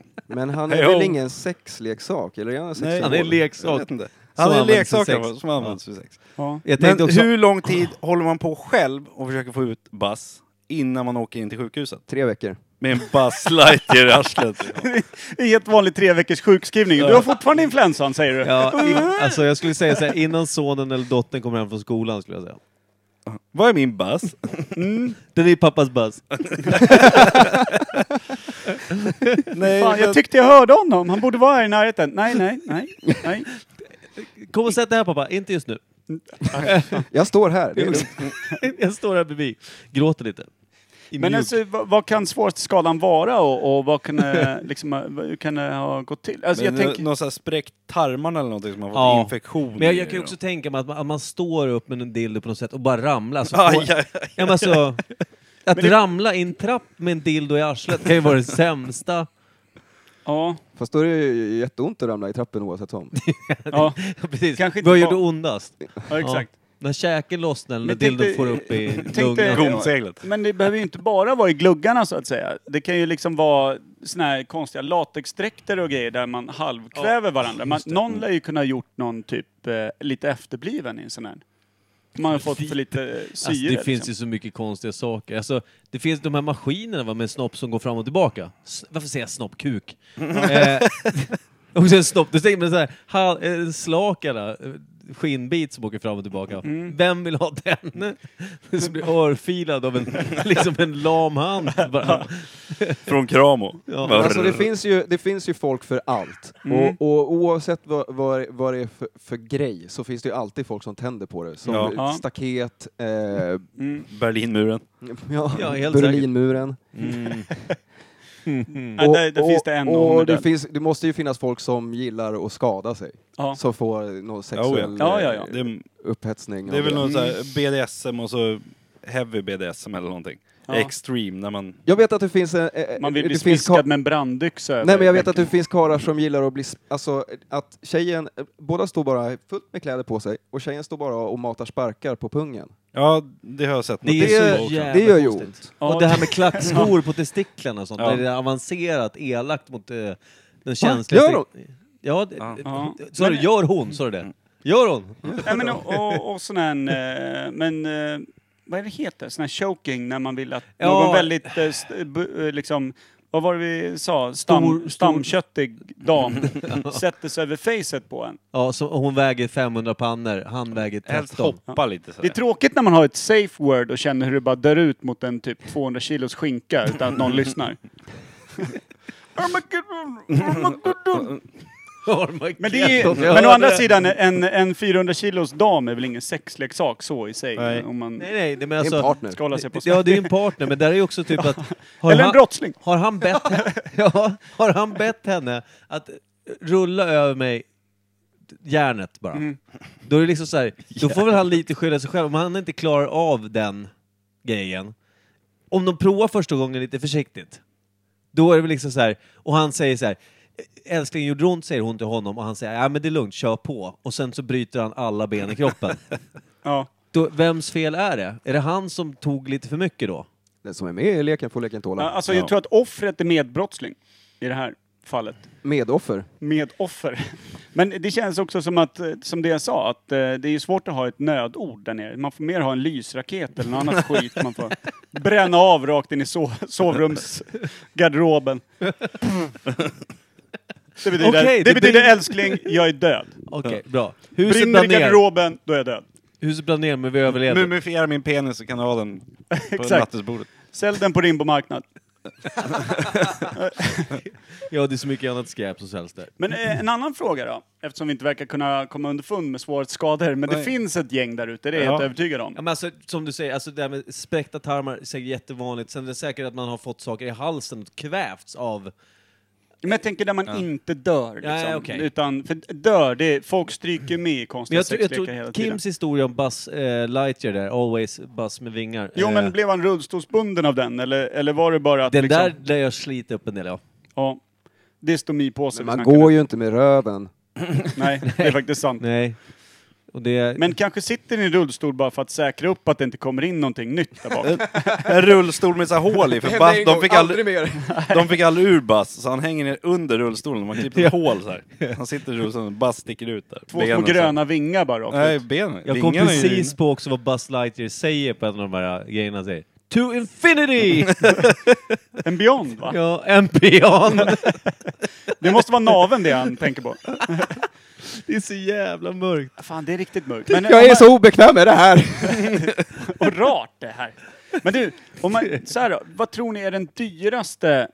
Speaker 4: Men han
Speaker 3: Hej
Speaker 4: är väl
Speaker 3: ho.
Speaker 4: ingen sexleksak? Eller är han en
Speaker 10: liksom.
Speaker 4: sexsymbol?
Speaker 5: Han är en
Speaker 3: Jag
Speaker 5: leksak.
Speaker 3: vet inte.
Speaker 5: Som
Speaker 3: Han är
Speaker 5: används i
Speaker 3: leksaker
Speaker 5: sex.
Speaker 3: som används för sex.
Speaker 2: Ja.
Speaker 5: Jag
Speaker 3: Men
Speaker 5: tänkte också...
Speaker 3: hur lång tid håller man på själv och försöker få ut Buzz innan man åker in till sjukhuset?
Speaker 4: Tre veckor.
Speaker 3: Med en Buzz Lightyear i arslet.
Speaker 2: Det är helt vanlig tre veckors sjukskrivning. Du har fortfarande influensan säger du.
Speaker 5: Ja, i, alltså jag skulle säga så här, innan sonen eller dottern kommer hem från skolan skulle jag säga.
Speaker 3: Vad är min Buzz?
Speaker 5: Den är pappas Buzz.
Speaker 3: Nej,
Speaker 2: Fan, jag
Speaker 3: men-
Speaker 2: tyckte jag hörde honom. Han borde vara här i närheten. Nej, nej, nej, nej.
Speaker 5: Kom och sätt dig här pappa, inte just nu.
Speaker 4: Jag står här. Det är lugnt.
Speaker 5: Jag står här bredvid. Gråter lite. I
Speaker 2: Men
Speaker 5: mjuk-
Speaker 2: alltså, vad, vad kan svåraste skalan vara och, och vad kunde liksom, ha- vad kunde ha gått till? Alltså, jag
Speaker 3: Men eh,
Speaker 2: tänker...
Speaker 3: Någon sån här spräckt tarmarna eller någonting som har fått
Speaker 5: Ja.
Speaker 3: infektion
Speaker 5: Men jag,
Speaker 3: i
Speaker 5: jag kan ju
Speaker 3: dem.
Speaker 5: också tänka mig att man, att man står upp med en dildo på något sätt och bara ramlar. Så
Speaker 3: Aj,
Speaker 5: får-
Speaker 3: aj, aj.
Speaker 5: Ja, men alltså, att ramla i en trapp med en dildo i arslet kan ju vara det sämsta.
Speaker 2: Ja,
Speaker 4: Fast då är det ju jätteont att ramla i trappen oavsett om.
Speaker 2: ja,
Speaker 5: Precis.
Speaker 2: Kanske inte
Speaker 5: Vad gör det
Speaker 2: bara-
Speaker 5: ondast?
Speaker 2: ja, exakt.
Speaker 5: När käken lossnar eller när
Speaker 2: Men
Speaker 5: dildon
Speaker 2: tänkte-
Speaker 5: får upp i
Speaker 2: tänkte-
Speaker 5: lungan.
Speaker 3: Gomseglet.
Speaker 2: Men det behöver ju inte bara vara i gluggarna så att säga. Det kan ju liksom vara såna här konstiga latexdräkter och grejer där man halvkväver varandra. Man, någon lär ju kunna ha gjort någon typ eh, lite efterbliven i en sån här. Man har fått för lite eh, syre.
Speaker 5: Alltså, det finns
Speaker 2: liksom.
Speaker 5: ju så mycket konstiga saker. Alltså, det finns de här maskinerna va, med snopp som går fram och tillbaka. S varför säger jag snopp? Kuk. eh, och sen snopp. Du tänker man så här, ha- eh, slakar, eh, skinnbit som åker fram och tillbaka.
Speaker 2: Mm.
Speaker 5: Vem vill ha den? Som blir örfilad av en, liksom en lam hand. Bara.
Speaker 10: Från Kramo.
Speaker 5: Ja.
Speaker 10: Bara-
Speaker 4: Alltså det finns ju, det finns ju folk för allt.
Speaker 2: Mm.
Speaker 4: Och, och oavsett vad, vad, vad det är för, för grej så finns det ju alltid folk som tänder på det. Som
Speaker 10: Ja.
Speaker 2: Ja.
Speaker 4: staket, eh,
Speaker 2: Mm.
Speaker 10: Berlinmuren.
Speaker 4: ja,
Speaker 5: Ja, helt
Speaker 4: Berlinmuren.
Speaker 2: Mm. Nej, där där finns det en
Speaker 4: och det,
Speaker 2: ångmodell.
Speaker 4: finns, det måste ju finnas folk som gillar att skada sig.
Speaker 2: Ja.
Speaker 4: Som får någon sexuell
Speaker 2: Ja, ja, ja.
Speaker 4: eh,
Speaker 10: Det, är-
Speaker 4: upphetsning.
Speaker 10: det är
Speaker 4: av Mm.
Speaker 10: väl någon så här BDSM och så heavy BDSM eller någonting.
Speaker 2: Ja.
Speaker 10: Extreme, när man...
Speaker 4: Jag vet att det finns... eh, eh,
Speaker 2: Man vill bli
Speaker 4: det finns
Speaker 2: smiskad
Speaker 4: ka-
Speaker 2: med en brandyxa över
Speaker 4: Nej men jag vet
Speaker 2: veckan.
Speaker 4: att det finns karlar som gillar att bli, s- alltså att tjejen, eh, båda står bara fullt med kläder på sig och tjejen står bara och matar sparkar på pungen.
Speaker 10: Ja, det har jag sett.
Speaker 5: Det
Speaker 10: något
Speaker 5: är
Speaker 10: på
Speaker 5: så
Speaker 10: också.
Speaker 5: jävla
Speaker 4: Det gör ju
Speaker 5: konstigt.
Speaker 4: ont.
Speaker 2: Ja,
Speaker 5: Och det här med klackskor på testiklarna och sånt.
Speaker 10: Ja.
Speaker 5: där Det är avancerat, elakt mot eh, den
Speaker 4: Gör
Speaker 5: känsliga...
Speaker 4: hon?
Speaker 5: Ja, det,
Speaker 2: Ja. Mm.
Speaker 5: Sa du gör hon? Sa du det? Gör hon?
Speaker 2: Nej, men och, och, och sån här, eh, men eh, vad är det heter? Sån här choking när man vill att
Speaker 5: Ja.
Speaker 2: någon väldigt, eh, st- bu- eh, liksom, vad var det vi sa? Stam,
Speaker 5: Stor- stor-
Speaker 2: Stamköttig dam sätter sig över facet på en.
Speaker 5: Ja, så hon väger 500 pannor, han väger
Speaker 10: Helst
Speaker 5: 13.
Speaker 10: hoppa lite så
Speaker 2: Det är tråkigt när man har ett safe word och känner hur det bara dör ut mot en typ 200 kilos skinka utan att någon lyssnar.
Speaker 5: Armageddon.
Speaker 2: Men, det är, men å andra sidan, en, en 400 kilos dam är väl ingen sexleksak så i sig?
Speaker 10: Nej.
Speaker 2: Om man
Speaker 5: Nej, nej, det men
Speaker 4: Det är
Speaker 5: alltså...
Speaker 4: en partner.
Speaker 2: ska hålla sig på
Speaker 5: Ja, det är ju en partner, men där är ju också typ att... Har
Speaker 2: Eller en
Speaker 5: han-
Speaker 2: brottsling.
Speaker 5: Har han bett henne, ja, har han bett henne att rulla över mig järnet bara?
Speaker 2: Mm.
Speaker 5: Då är det liksom så här, då får väl han lite skylla sig själv om han inte klarar av den grejen. Om de provar första gången lite försiktigt, då är det väl liksom så här, och han säger så här, älskling gjorde ont säger hon till honom och han säger ja men det är lugnt, kör på. Och sen så bryter han alla ben i kroppen.
Speaker 2: Ja.
Speaker 5: då, vems fel är det? Är det han som tog lite för mycket då?
Speaker 4: Den som är med i leken får leken
Speaker 2: Ja,
Speaker 4: tåla.
Speaker 2: Alltså jag tror att offret är medbrottsling i det här fallet.
Speaker 4: Medoffer.
Speaker 2: Medoffer. Men det känns också som att, eh, som det jag sa, att eh, det är ju svårt att ha ett nödord där nere. Man får mer ha en lysraket eller något annat skit man får bränna av rakt in i sov sovrumsgarderoben. Det betyder,
Speaker 5: Okej,
Speaker 2: det
Speaker 5: det
Speaker 2: betyder
Speaker 5: blir-
Speaker 2: älskling, jag är död.
Speaker 5: Okej, bra. Huset
Speaker 2: Brinner
Speaker 5: brann
Speaker 2: i
Speaker 5: ner.
Speaker 2: garderoben, då är jag död.
Speaker 5: Huset brann ner, Mm, men vi överlevde.
Speaker 10: Mumifiera min penis så kan du ha den på
Speaker 2: Exakt.
Speaker 10: nattduksbordet.
Speaker 2: Sälj den på Rimbo marknad.
Speaker 5: Ja, det är så mycket annat skräp som säljs där.
Speaker 2: Men eh, en annan fråga då, eftersom vi inte verkar kunna komma underfund med svårighetsskador. Men det
Speaker 10: Nej.
Speaker 2: finns ett gäng där ute, det är jag
Speaker 10: Ja.
Speaker 2: helt övertygad om.
Speaker 5: Ja, men alltså, som du säger, alltså det här med spräckta tarmar är säkert jättevanligt. Sen är det säkert att man har fått saker i halsen och kvävts av...
Speaker 2: Men jag tänker där man inte dör liksom.
Speaker 5: Nej, okej.
Speaker 2: Utan, för dör, det är, folk stryker med i
Speaker 5: Men
Speaker 2: konstiga
Speaker 5: jag, tror- jag
Speaker 2: sexlekar hela
Speaker 5: tror
Speaker 2: tiden.
Speaker 5: Kims historia om Buzz eh, Lightyear där, Always Buzz med vingar.
Speaker 2: Jo
Speaker 5: eh,
Speaker 2: men blev han rullstolsbunden av den eller, eller var det bara att
Speaker 5: den
Speaker 2: liksom,
Speaker 5: där lär jag slita upp en del av.
Speaker 2: ja, det är stomipåse vi
Speaker 4: Man
Speaker 2: snackar
Speaker 4: går
Speaker 2: nu.
Speaker 4: ju inte med röven.
Speaker 2: Nej, det är faktiskt sant.
Speaker 5: Nej. Och det...
Speaker 2: Men kanske sitter ni i rullstol bara för att säkra upp att det inte kommer in någonting nytt där bak.
Speaker 10: En rullstol med så här hål i, för Buzz, de, fick aldrig,
Speaker 4: mer.
Speaker 10: de fick aldrig ur Buzz, så han hänger ner under rullstolen. Man klippte ett hål så här. Han sitter i rullstolen och Buzz sticker ut där.
Speaker 2: Två
Speaker 10: Benen
Speaker 2: små
Speaker 10: så här.
Speaker 2: gröna vingar bara rakt
Speaker 10: Nej,
Speaker 2: ut.
Speaker 10: benen.
Speaker 5: jag kom
Speaker 10: Vingarna är ju-
Speaker 5: precis på också vad Buzz Lightyear säger på en av de här eh, grejerna. han Säger. To infinity!
Speaker 2: En Beyond va?
Speaker 5: ja, en pian!
Speaker 2: Det måste vara naven det han tänker på.
Speaker 5: det är så jävla mörkt.
Speaker 2: Fan, det är riktigt mörkt. Men om
Speaker 4: Jag är
Speaker 2: man-
Speaker 4: så obekväm med det här!
Speaker 2: och rart det här. Men du, om man, så här då, vad tror ni är den dyraste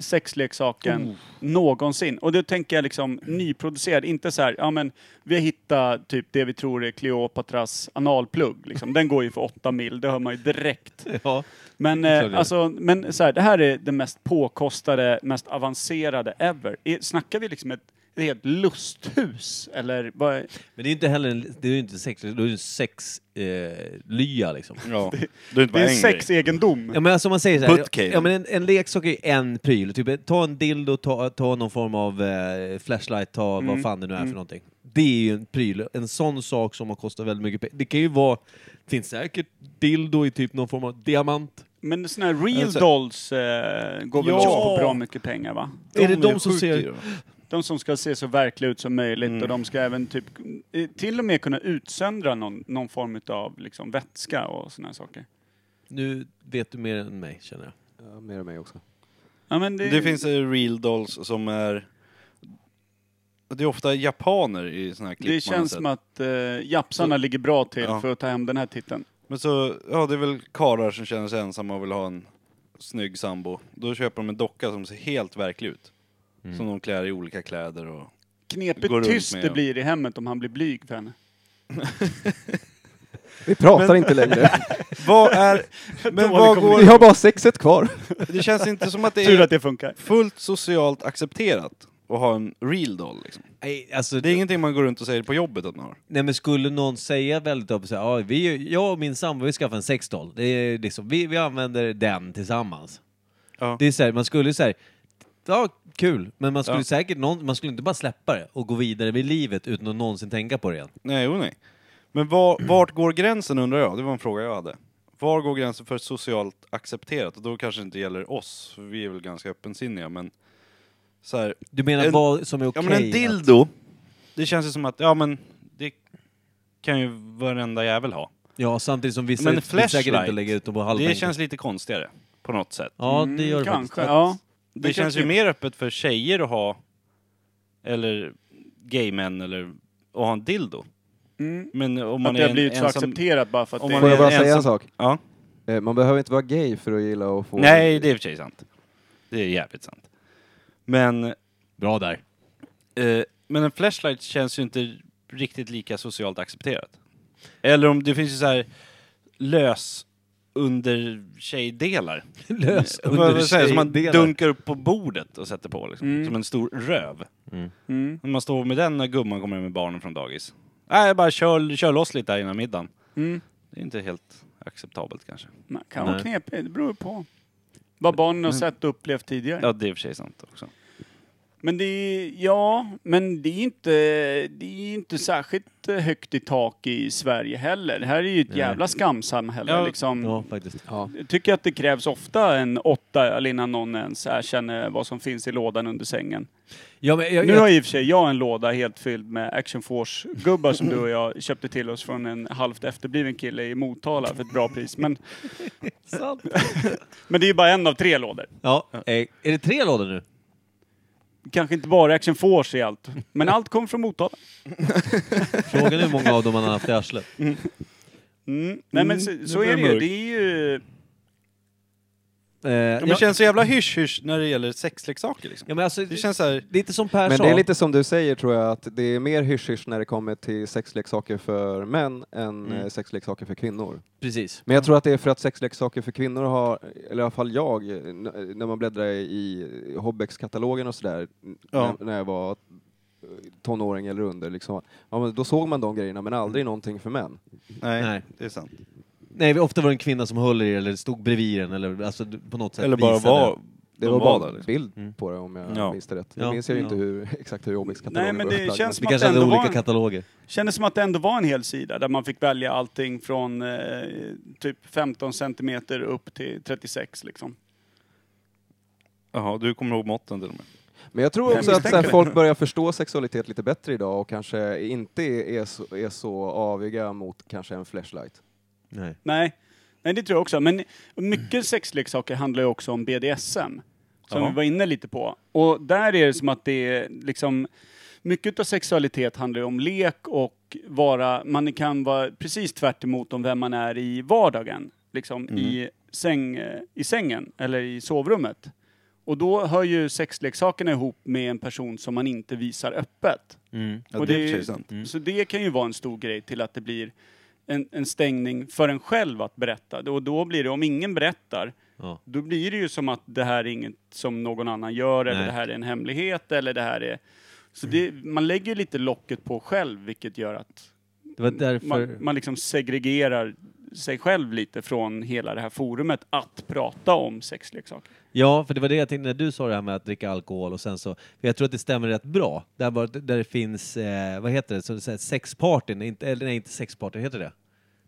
Speaker 2: sexleksaken någonsin? Och då tänker jag liksom nyproducerad, inte så här, ja men vi har hittat typ det vi tror är Cleopatras analplugg liksom. Den går ju för 8 mil, det hör man ju direkt.
Speaker 5: Ja.
Speaker 2: Men,
Speaker 5: Det är klart det
Speaker 2: eh,
Speaker 5: är.
Speaker 2: alltså, men så här, det här är den mest påkostade, mest avancerade ever. I, snackar vi liksom ett, ett helt lusthus eller vad?
Speaker 5: Men det är ju inte heller en, det är ju inte sex, det är ju en sex eh, lya liksom.
Speaker 10: Ja. Det är inte
Speaker 2: Det
Speaker 10: bara
Speaker 2: är
Speaker 10: en grej.
Speaker 2: sexegendom.
Speaker 5: Ja men alltså om man säger så
Speaker 10: Buttcave.
Speaker 5: här, ja, men en, en leksak är ju en pryl, typ ta en dildo, ta, ta någon form av eh, flashlight, ta vad fan det nu är för någonting. Det är ju en pryl, en sån sak som har kostat väldigt mycket pengar. Det kan ju vara, det finns säkert dildo i typ någon form av diamant.
Speaker 2: Men såna här real
Speaker 10: Alltså-
Speaker 2: dolls eh, går väl
Speaker 10: Ja.
Speaker 2: också på bra mycket pengar va?
Speaker 5: är det de som
Speaker 10: sjukt
Speaker 5: ser-
Speaker 10: dyra.
Speaker 2: De som ska se så verkliga ut som möjligt
Speaker 3: Mm.
Speaker 2: och de ska även typ eh, till och med kunna utsöndra någon, någon form av liksom vätska och såna här saker.
Speaker 5: Nu vet du mer än mig känner jag.
Speaker 4: Ja, mer och mig också.
Speaker 2: Ja men det,
Speaker 10: Det finns eh, real dolls som är...
Speaker 3: Det är ofta japaner i såna här klipp
Speaker 2: Det
Speaker 3: man har
Speaker 2: känns
Speaker 3: sett.
Speaker 2: som att eh, japsarna ligger bra till
Speaker 3: Ja.
Speaker 2: för att ta hem den här titeln.
Speaker 3: Men så, ja det är väl karlar som känner sig ensamma och vill ha en snygg sambo. Då köper de en docka som ser helt verklig ut.
Speaker 2: Mm.
Speaker 3: Som de klär i olika kläder och...
Speaker 2: Knepigt
Speaker 3: Går runt
Speaker 2: tyst
Speaker 3: med,
Speaker 2: det
Speaker 3: ja.
Speaker 2: blir i hemmet om han blir blyg för henne.
Speaker 4: Vi pratar inte längre.
Speaker 3: Vad är... Men vad går...
Speaker 4: Vi har bara sexet kvar.
Speaker 3: Det känns inte som att det
Speaker 2: Tur att
Speaker 3: är
Speaker 2: det funkar.
Speaker 3: fullt socialt accepterat att ha en real doll liksom.
Speaker 5: Nej, alltså,
Speaker 3: Det är ingenting man går runt och säger på jobbet att man har.
Speaker 5: nej, men skulle någon säga väldigt öppet så här, ja, vi, jag och min sambo vi skaffar en sexdoll. Det är liksom, vi, vi använder den tillsammans.
Speaker 3: Ja.
Speaker 5: Det är så här, man skulle säga ja kul, men man skulle
Speaker 3: Ja.
Speaker 5: säkert någon, man skulle inte bara släppa det och gå vidare med livet utan att någonsin tänka på det igen.
Speaker 3: Nej, jo nej. Men var, vart går gränsen undrar jag? Det var en fråga jag hade. Var går gränsen för socialt accepterat? Och då kanske det inte gäller oss, för vi är väl ganska öppensinniga, men... Så här,
Speaker 5: Du menar
Speaker 3: En-
Speaker 5: vad som är okej?
Speaker 3: Ja men en
Speaker 5: att-
Speaker 3: dildo, det känns ju som att, ja men det kan ju varenda jävel ha.
Speaker 5: Ja, samtidigt som vissa
Speaker 3: Men
Speaker 5: vill säkert inte
Speaker 3: flashlight,
Speaker 5: lägga ut dem på
Speaker 3: Det
Speaker 5: halvbänken.
Speaker 3: känns Mm, lite konstigare, på något sätt.
Speaker 5: Ja, det gör det
Speaker 2: Mm, Kanske,
Speaker 5: faktiskt.
Speaker 2: ja.
Speaker 3: Det, känns ju mer öppet för tjejer att ha, eller gaymän, eller att ha en dildo.
Speaker 2: Mm.
Speaker 3: Men om
Speaker 2: Att
Speaker 3: man
Speaker 2: det har
Speaker 3: är en
Speaker 2: blivit så
Speaker 3: ensam...
Speaker 2: accepterat bara för att
Speaker 3: Om
Speaker 2: det
Speaker 3: man
Speaker 4: Får jag
Speaker 3: är
Speaker 4: bara säga
Speaker 3: ensam-
Speaker 4: en sak?
Speaker 3: Ja.
Speaker 4: Eh, Man behöver inte vara gay för att gilla att få...
Speaker 3: Nej, det är i och för sig sant. Det är jävligt sant. Men,
Speaker 5: Bra där.
Speaker 3: eh, men en flashlight känns ju inte riktigt lika socialt accepterat. Eller om det finns ju så här lös under tjejdelar.
Speaker 5: Lös
Speaker 3: Vad- vad säger jag? Som man
Speaker 5: tjejdelar.
Speaker 3: dunkar upp på bordet och sätter på liksom.
Speaker 2: Mm.
Speaker 3: Som en stor röv.
Speaker 2: Mm.
Speaker 3: När man står med den när gumman kommer hem med barnen från dagis. Nej, jag bara kör, kör loss lite här innan middagen.
Speaker 2: Mm.
Speaker 3: Det är inte helt acceptabelt kanske.
Speaker 2: Man kan vara
Speaker 5: Nej. Mm.
Speaker 2: knepig, det beror ju på. Vad barnen har sett och upplevt tidigare.
Speaker 3: Ja, det är i och för sig sant också.
Speaker 2: Men det är, ja, men det är inte, det är inte särskilt eh, högt i tak i Sverige heller. Det här är ju ett jävla skamsamhälle
Speaker 3: Ja.
Speaker 2: liksom.
Speaker 5: Ja, faktiskt.
Speaker 2: Jag tycker att det krävs ofta en åtta öl innan någon ens erkänner vad som finns i lådan under sängen.
Speaker 5: Ja, men jag,
Speaker 2: Nu har
Speaker 5: jag,
Speaker 2: i och för sig jag en låda helt fylld med Action Force-gubbar som du och jag köpte till oss från en halvt efterbliven kille i Motala för ett bra pris. Men, men det är ju bara en av tre lådor.
Speaker 5: ja, eh, är det tre lådor nu?
Speaker 2: Kanske inte bara Action Force i allt, men allt kom från Motala.
Speaker 5: Frågan är hur många av dem man har haft i arslet.
Speaker 2: Mm. Nej men så, så
Speaker 3: blir
Speaker 2: är det
Speaker 3: det
Speaker 2: ju.
Speaker 3: mörkt.
Speaker 2: Det är ju...
Speaker 5: Eh,
Speaker 3: Ja,
Speaker 5: ja,
Speaker 3: men det känns så jävla hysch-hysch när det gäller sexleksaker liksom.
Speaker 5: ja, men alltså,
Speaker 3: Det känns så här,
Speaker 5: lite som Per
Speaker 4: Men
Speaker 5: sa.
Speaker 4: det är lite som du säger tror jag, att det är mer hysch när det kommer till sexleksaker för män än
Speaker 3: Mm.
Speaker 4: eh, sexleksaker för kvinnor.
Speaker 5: Precis.
Speaker 4: Men jag tror att det är för att sexleksaker för kvinnor har, eller i alla fall jag, eh, n- när man bläddrar i Hobbex-katalogen och sådär, n-
Speaker 3: Ja.
Speaker 4: när, när jag var eh, tonåring eller under, liksom. ja, men då såg man de grejerna men aldrig någonting för män.
Speaker 3: nej,
Speaker 5: Nej.
Speaker 3: det är sant.
Speaker 5: Nej, vi- ofta var det en kvinna som höll i det, eller stod bredvid den eller alltså, d- på något sätt
Speaker 3: Eller bara
Speaker 5: visade.
Speaker 3: var
Speaker 4: Det
Speaker 3: De
Speaker 4: var
Speaker 3: var
Speaker 4: bara
Speaker 3: där, liksom.
Speaker 4: bild
Speaker 5: Mm.
Speaker 4: på det om jag
Speaker 3: Ja.
Speaker 4: minns det rätt.
Speaker 5: Ja.
Speaker 4: Nu minns jag ju inte
Speaker 5: Ja.
Speaker 4: hur, exakt hur
Speaker 2: Nej
Speaker 4: Hobbex-katalogen
Speaker 2: men
Speaker 4: var
Speaker 2: det
Speaker 4: upplagd,
Speaker 2: känns
Speaker 5: Vi
Speaker 2: som att det
Speaker 5: kanske hade
Speaker 2: ändå
Speaker 5: olika
Speaker 2: var en,
Speaker 5: kataloger.
Speaker 2: kändes som att det ändå var en hel sida där man fick välja allting från eh, typ 15 centimeter upp till 36 liksom.
Speaker 3: Jaha, du kommer ihåg måtten till och med.
Speaker 4: Men jag tror
Speaker 2: Jag
Speaker 4: också att
Speaker 2: misstänker
Speaker 4: så här,
Speaker 2: det.
Speaker 4: folk börjar förstå sexualitet lite bättre idag och kanske inte är så, är så aviga mot kanske en flashlight.
Speaker 5: Nej.
Speaker 2: Nej. Nej, det tror jag också. Men mycket sexleksaker handlar ju också om BDSM. Som
Speaker 3: Ja.
Speaker 2: vi var inne lite på. Och där är det som att det är liksom... Mycket av sexualitet handlar ju om lek och vara... Man kan vara precis tvärt emot om vem man är i vardagen. Liksom i, säng, i sängen eller i sovrummet. Och då hör ju sexleksakerna ihop med en person som man inte visar öppet.
Speaker 5: Mm.
Speaker 3: Ja,
Speaker 2: Och
Speaker 3: det är i
Speaker 2: det- mm.
Speaker 3: och för sig sant.
Speaker 2: Så det kan ju vara en stor grej till att det blir en, en stängning för en själv att berätta. Och då blir det, om ingen berättar,
Speaker 5: Ja.
Speaker 2: då blir det ju som att det här är inget som någon annan gör, eller
Speaker 5: Nej.
Speaker 2: det här är en hemlighet, eller det här är... Så det, man lägger ju lite locket på själv, vilket gör att
Speaker 5: Det var därför...
Speaker 2: man, man liksom segregerar sig själv lite från hela det här forumet att prata om sexleksaker.
Speaker 5: Ja, för det var det jag tänkte när du sa det här med att dricka alkohol och sen så, för jag tror att det stämmer rätt bra. Där, var, där det finns, eh, vad heter det, så, så, här sexpartyn, inte, eller nej inte sexpartyn, heter det?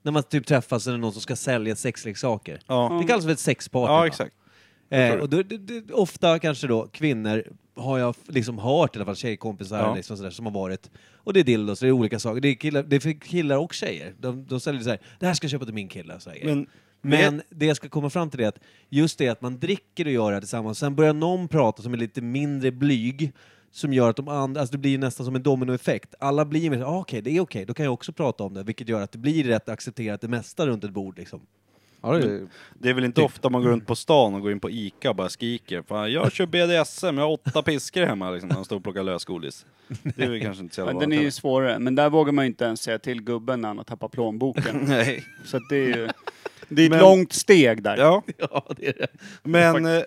Speaker 5: När man typ träffas och det är någon som ska sälja sexleksaker.
Speaker 3: Ja,
Speaker 5: Det kallas väl sexparty? va?
Speaker 3: ja exakt.
Speaker 5: Eh, och då, det, det, ofta kanske då kvinnor, har jag f- liksom hört i alla fall, tjejkompisar
Speaker 3: Ja.
Speaker 5: liksom sådär, som har varit, och det är dildos, det är olika saker. Det är, killar, det är för killar och tjejer. De, de säljer såhär, det här ska jag köpa till min kille. Så här, grejer.
Speaker 3: Men,
Speaker 5: Men det jag ska komma fram till är att just det att man dricker och gör det här tillsammans, sen börjar någon prata som är lite mindre blyg, som gör att de andra, alltså det blir ju nästan som en dominoeffekt. Alla blir mer så, ah, okej, det är okej, då kan jag också prata om det, vilket gör att det blir rätt accepterat det mesta runt ett bord liksom.
Speaker 4: Ja, det är,
Speaker 10: Det är väl inte ofta man går runt på stan och går in på Ica och bara skriker Fan, jag kör BDSM, jag har åtta piskor hemma liksom, när de står och plockar lösgodis. Det är väl kanske inte så jävla
Speaker 2: Ja, den är ju svårare, men där vågar man ju inte ens säga till gubben när han har tappat plånboken.
Speaker 10: Nej.
Speaker 2: Så att det är ju... Det är ett
Speaker 10: Men-
Speaker 2: långt steg där.
Speaker 10: Ja,
Speaker 5: Ja, det är det.
Speaker 10: men eh,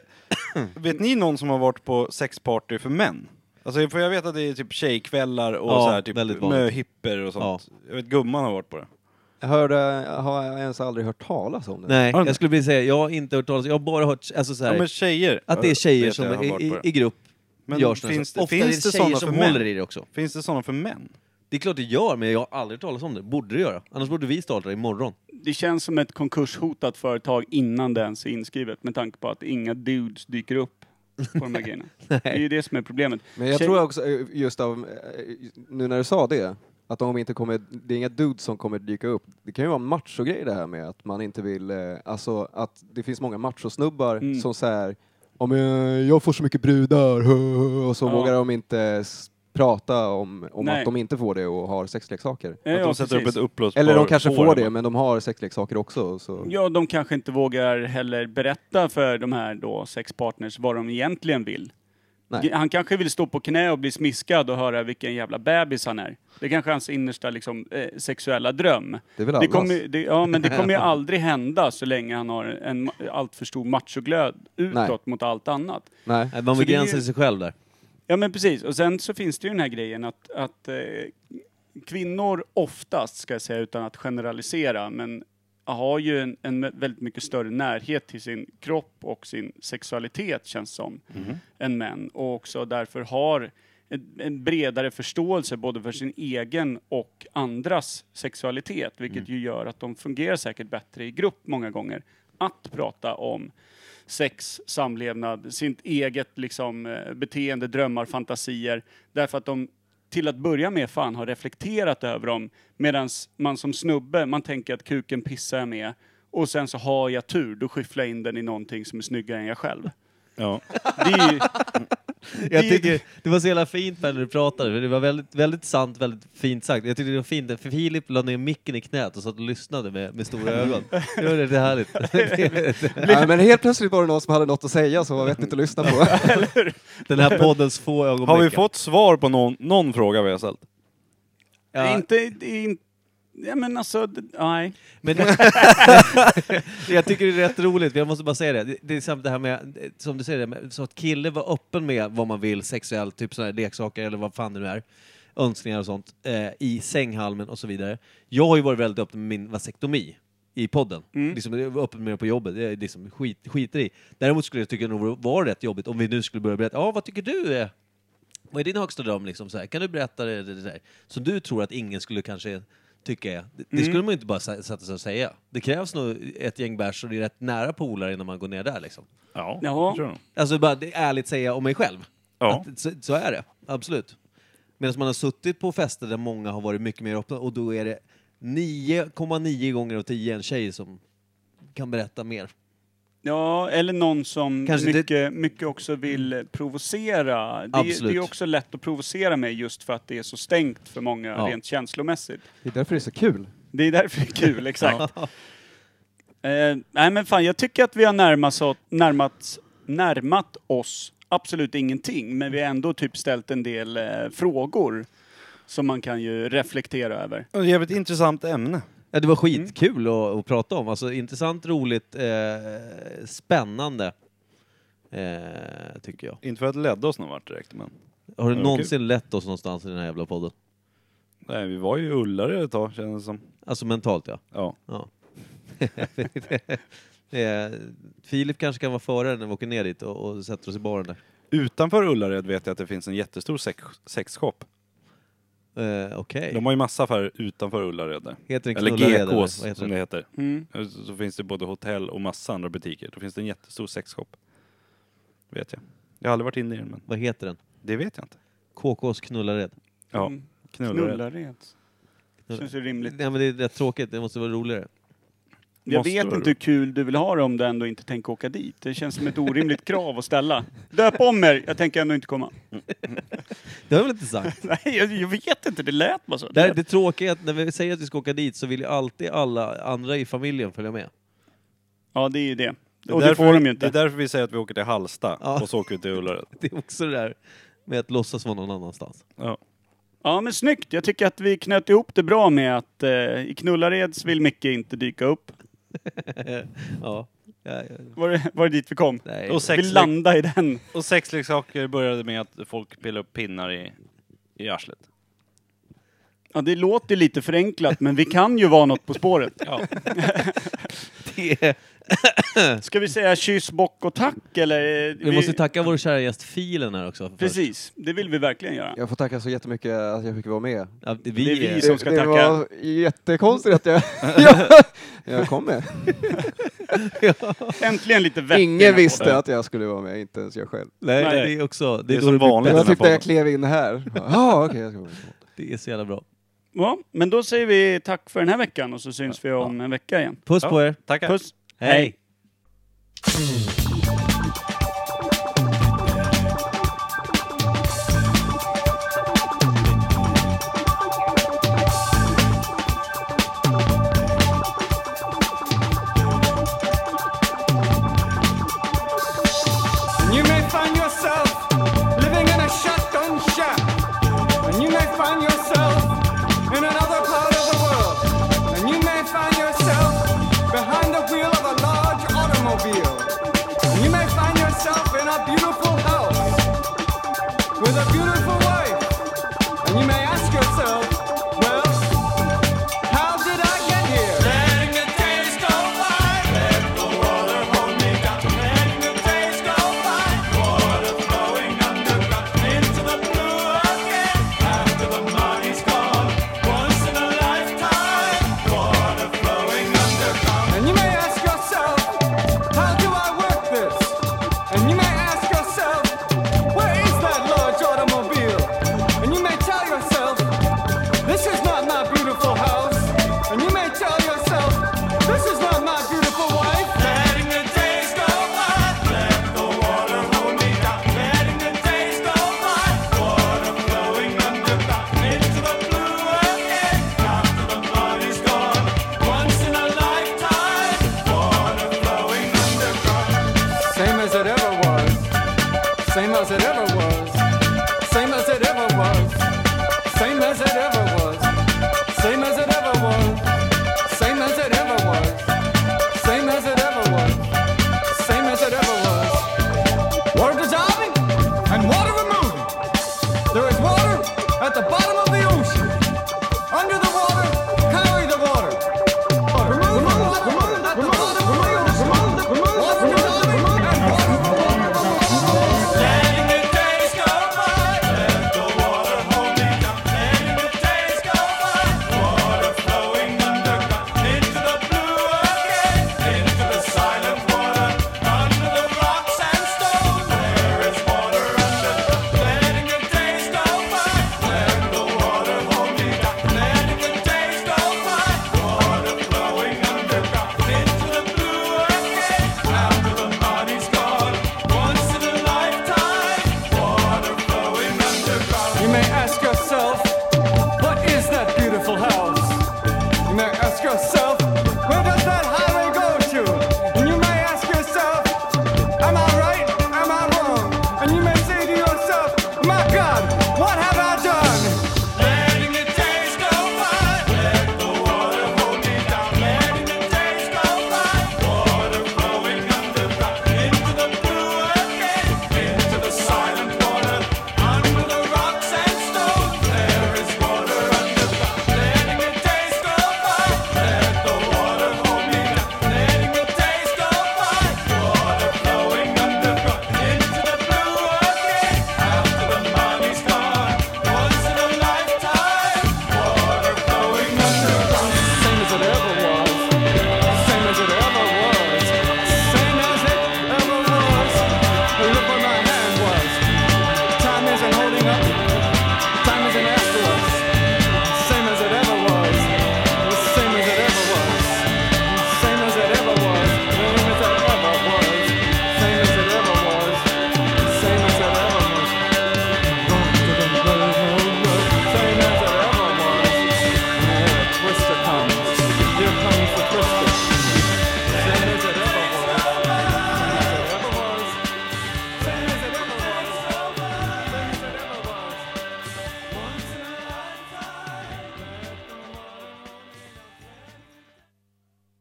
Speaker 10: vet ni någon som har varit på sexparty för män? Alltså för jag vet att det är typ tjejkvällar och
Speaker 5: Ja,
Speaker 10: så här, typ
Speaker 5: väldigt vanligt.
Speaker 10: möhipper och sånt. Jag vet gumman har varit på det.
Speaker 4: jag hörde, har jag ens aldrig hört talas om det?
Speaker 5: Nej,
Speaker 10: Har du
Speaker 5: jag skulle vilja säga, jag har inte hört talas jag har bara hört, alltså så här,
Speaker 10: Ja men tjejer.
Speaker 5: att det är tjejer
Speaker 10: vet jag
Speaker 5: som
Speaker 10: har
Speaker 5: i,
Speaker 10: varit
Speaker 5: i,
Speaker 10: på det.
Speaker 5: i grupp
Speaker 10: Men
Speaker 5: gör såna
Speaker 10: finns,
Speaker 5: saker.
Speaker 10: det,
Speaker 5: Ofta
Speaker 10: finns
Speaker 5: är det
Speaker 10: det
Speaker 5: tjejer
Speaker 10: sådana
Speaker 5: som
Speaker 10: för
Speaker 5: håller
Speaker 10: män?
Speaker 5: i det också.
Speaker 10: Finns det sådana för män?
Speaker 5: Det är klart det gör, men jag har aldrig hört talas om det. Borde det göra. Annars borde vi starta det imorgon.
Speaker 2: Det känns som ett konkurshotat företag innan det ens är inskrivet med tanke på att inga dudes dyker upp på de här grejerna. Det är ju det som är problemet.
Speaker 4: Men jag
Speaker 2: Tjej-
Speaker 4: tror också, eh, just av, eh, nu när du sa det, att de inte kommer, det är inga dudes som kommer dyka upp. Det kan ju vara en machogrej det här med att man inte vill, eh, alltså att det finns många machosnubbar
Speaker 2: Mm.
Speaker 4: som så här, om jag, jag får så mycket brudar, och så
Speaker 2: Ja.
Speaker 4: vågar de inte s- prata om, om
Speaker 2: Nej. Eh.
Speaker 4: att de inte får det och har sexleksaker.
Speaker 2: Ja,
Speaker 10: att
Speaker 2: ja,
Speaker 10: de sätter
Speaker 2: precis.
Speaker 10: upp ett upplåsbart
Speaker 4: Eller de kanske
Speaker 10: hår
Speaker 4: får
Speaker 10: hemma?
Speaker 4: det, men de har sexleksaker också. Så.
Speaker 2: Ja, de kanske inte vågar heller berätta för de här då sexpartners vad de egentligen vill.
Speaker 4: Nej.
Speaker 2: Han kanske vill stå på knä och bli smiskad och höra vilken jävla bebis han är. Det är kanske är hans innersta liksom, eh, sexuella dröm.
Speaker 4: Det är väl
Speaker 2: Det
Speaker 4: allas.
Speaker 2: kommer, ju- det, ja, men det kommer ju aldrig hända så länge han har en ma- alltför stor machoglöd utåt
Speaker 4: Nej.
Speaker 2: mot allt annat.
Speaker 4: Nej.
Speaker 5: Nej, Man
Speaker 2: Så det är
Speaker 5: begränsar
Speaker 2: ju-
Speaker 5: sig själv där.
Speaker 2: Ja men precis, och sen så finns det ju den här grejen att, att eh, kvinnor oftast, ska jag säga utan att generalisera, men har ju en, en väldigt mycket större närhet till sin kropp och sin sexualitet känns som, än män. Och också därför har en, en bredare förståelse både för sin egen och andras sexualitet, vilket ju gör att de fungerar säkert bättre i grupp många gånger. Att prata om sex, samlevnad, sitt eget liksom, eh, beteende, drömmar, fantasier. Därför att de till att börja med fan har reflekterat över dem. Medan man som snubbe, man tänker att kuken pissar jag med. Och sen så har jag tur, då skyfflar jag in den i någonting som är snyggare än jag själv.
Speaker 10: Ja.
Speaker 2: Det är ju,
Speaker 5: Jag
Speaker 2: Det-
Speaker 5: tycker det var så jävla fint när du pratade, för det var väldigt, väldigt sant, väldigt fint sagt. Jag tyckte det var fint, för Filip la ner micken i knät och satt och lyssnade med, med stora ögon. Det var rätt härligt.
Speaker 4: Nej, men helt plötsligt var det någon som hade något att säga som var vettigt att lyssna på.
Speaker 5: Den här poddens få ögonblickar.
Speaker 10: Har vi fått svar på någon, någon fråga vi har ställt?
Speaker 2: det är
Speaker 5: Ja,
Speaker 2: inte... Det är inte Ja men alltså, det, nej.
Speaker 5: men jag tycker det är rätt roligt, jag måste bara säga det. Det, det är samt det här med, som du säger, det, med- så att kille var öppen med vad man vill sexuellt, typ sådana här leksaker eller vad fan det nu är, önskningar och sånt, eh, i sänghalmen och så vidare. Jag har ju varit väldigt öppen med min vasektomi i podden. Liksom, jag var öppen med det på jobbet, det är liksom skit, skiter i. Däremot skulle jag tycka det nog var rätt jobbigt om vi nu skulle börja berätta, ja vad tycker du är vad är din högsta dröm? Liksom, så här, kan du berätta det, det, det där? Som du tror att ingen skulle kanske tycka är. Det, det skulle man ju inte bara sa- sätta sig och säga. Det krävs nog ett gäng bärs och det är rätt nära polare innan man går ner där. Liksom.
Speaker 10: Ja,
Speaker 2: Jaha.
Speaker 10: det tror jag nog.
Speaker 5: Alltså bara det, ärligt säga om mig själv.
Speaker 10: Ja.
Speaker 5: Att, så, så är det, absolut. Medan man har suttit på fester där många har varit mycket mer öppna och då är det 9,9 gånger av 10 en tjej som kan berätta mer.
Speaker 2: Ja, eller någon som
Speaker 5: Kanske
Speaker 2: mycket, mycket också vill provocera. Det, är- det
Speaker 5: Absolut.
Speaker 2: är också lätt att provocera mig just för att det är så stängt för många
Speaker 5: Ja.
Speaker 2: rent känslomässigt.
Speaker 4: Det är därför det är så kul.
Speaker 2: Det är därför det är kul, exakt. eh, nej men fan, jag tycker att vi har närmat, oss- närmat, närmat oss absolut ingenting, men vi har ändå typ ställt en del eh, frågor som man kan ju reflektera över.
Speaker 10: Ett jävligt intressant ämne.
Speaker 5: Ja, det var
Speaker 10: Mm.
Speaker 5: skitkul att, att prata om. Alltså, intressant, roligt, eh, spännande. Eh, tycker jag.
Speaker 10: Inte för att det ledde oss någon vart direkt, men...
Speaker 5: Har du
Speaker 10: Ja,
Speaker 5: någonsin lett oss någonstans i den här jävla podden?
Speaker 10: Nej, vi var ju ullare ett tag kändes det som.
Speaker 5: Alltså mentalt ja.
Speaker 10: Ja.
Speaker 5: ja. eh, Filip kanske kan vara före när vi åker ner dit och, och sätter oss i baren där.
Speaker 10: Utanför Ullared vet jag att det finns en jättestor sex sexshop.
Speaker 5: Eh, Okej.
Speaker 10: De har ju massa affärer utanför Ullared där.
Speaker 5: Heter den
Speaker 10: Eller
Speaker 5: Knullared, eller
Speaker 10: GKs
Speaker 5: vad heter
Speaker 10: som det
Speaker 5: den?
Speaker 10: heter.
Speaker 2: Mm.
Speaker 10: Så så finns det både hotell och massa andra butiker. Då finns det en jättestor sexshop. Det vet jag. Jag har aldrig varit inne i den, men
Speaker 5: Vad heter den?
Speaker 10: det vet jag inte.
Speaker 5: KKs Knullared.
Speaker 10: Ja,
Speaker 2: Mm.
Speaker 10: Knullared.
Speaker 2: Knullaret. Känns ju rimligt.
Speaker 5: Nej men det är rätt tråkigt, det måste vara roligare.
Speaker 2: Jag
Speaker 3: Måste
Speaker 2: vet
Speaker 3: vara
Speaker 2: inte hur kul du vill ha det om du ändå inte tänker åka dit. Det känns som ett orimligt krav att ställa. Döp om er! Jag tänker ändå inte komma.
Speaker 5: Det har jag väl inte sagt?
Speaker 2: Nej, jag, jag vet inte. Det lät bara så.
Speaker 5: Det, här, det tråkiga är att när vi säger att vi ska åka dit så vill ju alltid alla andra i familjen följa med.
Speaker 2: Ja, det är ju det.
Speaker 3: Det är
Speaker 2: Och det
Speaker 3: därför
Speaker 2: får
Speaker 3: vi-
Speaker 2: de ju inte.
Speaker 3: Det är därför vi säger att vi åker till Halsta
Speaker 5: Ja.
Speaker 3: och så åker vi till Ullared.
Speaker 5: Det är också det där med att låtsas vara någon annanstans.
Speaker 2: Ja, men snyggt. Jag tycker att vi knöt ihop det bra med att eh, i Knullareds vill Micke inte dyka upp.
Speaker 5: ja. Ja, ja.
Speaker 2: Var det, var det dit vi kom?
Speaker 5: Nej.
Speaker 3: Och
Speaker 2: Vi
Speaker 3: sexlek-
Speaker 2: landade i den.
Speaker 3: Och sexleksaker började med att folk pillade upp pinnar i, i arslet.
Speaker 2: Ja, det låter ju lite förenklat, men vi kan ju vara något på spåret.
Speaker 5: det är...
Speaker 2: Ska vi säga kyss, bock och tack, eller? eh,
Speaker 5: Vi måste tacka vår kära gäst Filen här också.
Speaker 2: Precis, det vill vi verkligen göra.
Speaker 11: Jag får tacka så jättemycket att jag fick vara med.
Speaker 5: Ja, vi,
Speaker 2: Det är vi
Speaker 5: är-
Speaker 2: som ska
Speaker 11: det
Speaker 2: tacka.
Speaker 11: var jättekonstigt att jag, jag, jag kom med.
Speaker 2: Äntligen lite vett i den här
Speaker 11: Ingen visste
Speaker 2: podden.
Speaker 11: att jag skulle vara med, inte ens jag själv.
Speaker 5: Nej,
Speaker 2: Nej.
Speaker 5: det är också... Det,
Speaker 3: Det
Speaker 5: är
Speaker 3: är
Speaker 5: då
Speaker 3: som
Speaker 5: det blir
Speaker 3: vanligt.
Speaker 5: bäst.
Speaker 11: Jag
Speaker 3: den här
Speaker 11: tyckte jag
Speaker 3: podden.
Speaker 11: klev in här. Ja, okej. jag ska vara med.
Speaker 5: Det är så jävla bra.
Speaker 2: Ja, men då säger vi tack för den här veckan och så syns vi om en vecka igen.
Speaker 5: Puss på er!
Speaker 3: Tackar.
Speaker 2: Puss!
Speaker 5: Hej.
Speaker 4: You may find yourself living in a shotgun shack. And you may find yourself in another part of the world. And you may find yourself behind the wheel of a large automobile. And you may find yourself in a beautiful house with a beautiful wife. And you may ask yourself, well, how did I get here? Letting the days go by. Let the water hold me down. Letting the days go by. Water flowing underground into the blue again. After the money's gone, once in a lifetime. Water flowing underground. And you may ask yourself, how do I work this? And you may ask yourself, where is that large automobile? And you may tell yourself. This is not my beautiful house. And you may tell yourself, this is not my beautiful wife. Letting the days go by. Let the water hold me down. Letting the days go by. Water flowing underground into the blue again. After the body's gone. Once in a lifetime. Water flowing underground. Same as it ever was. Same as it ever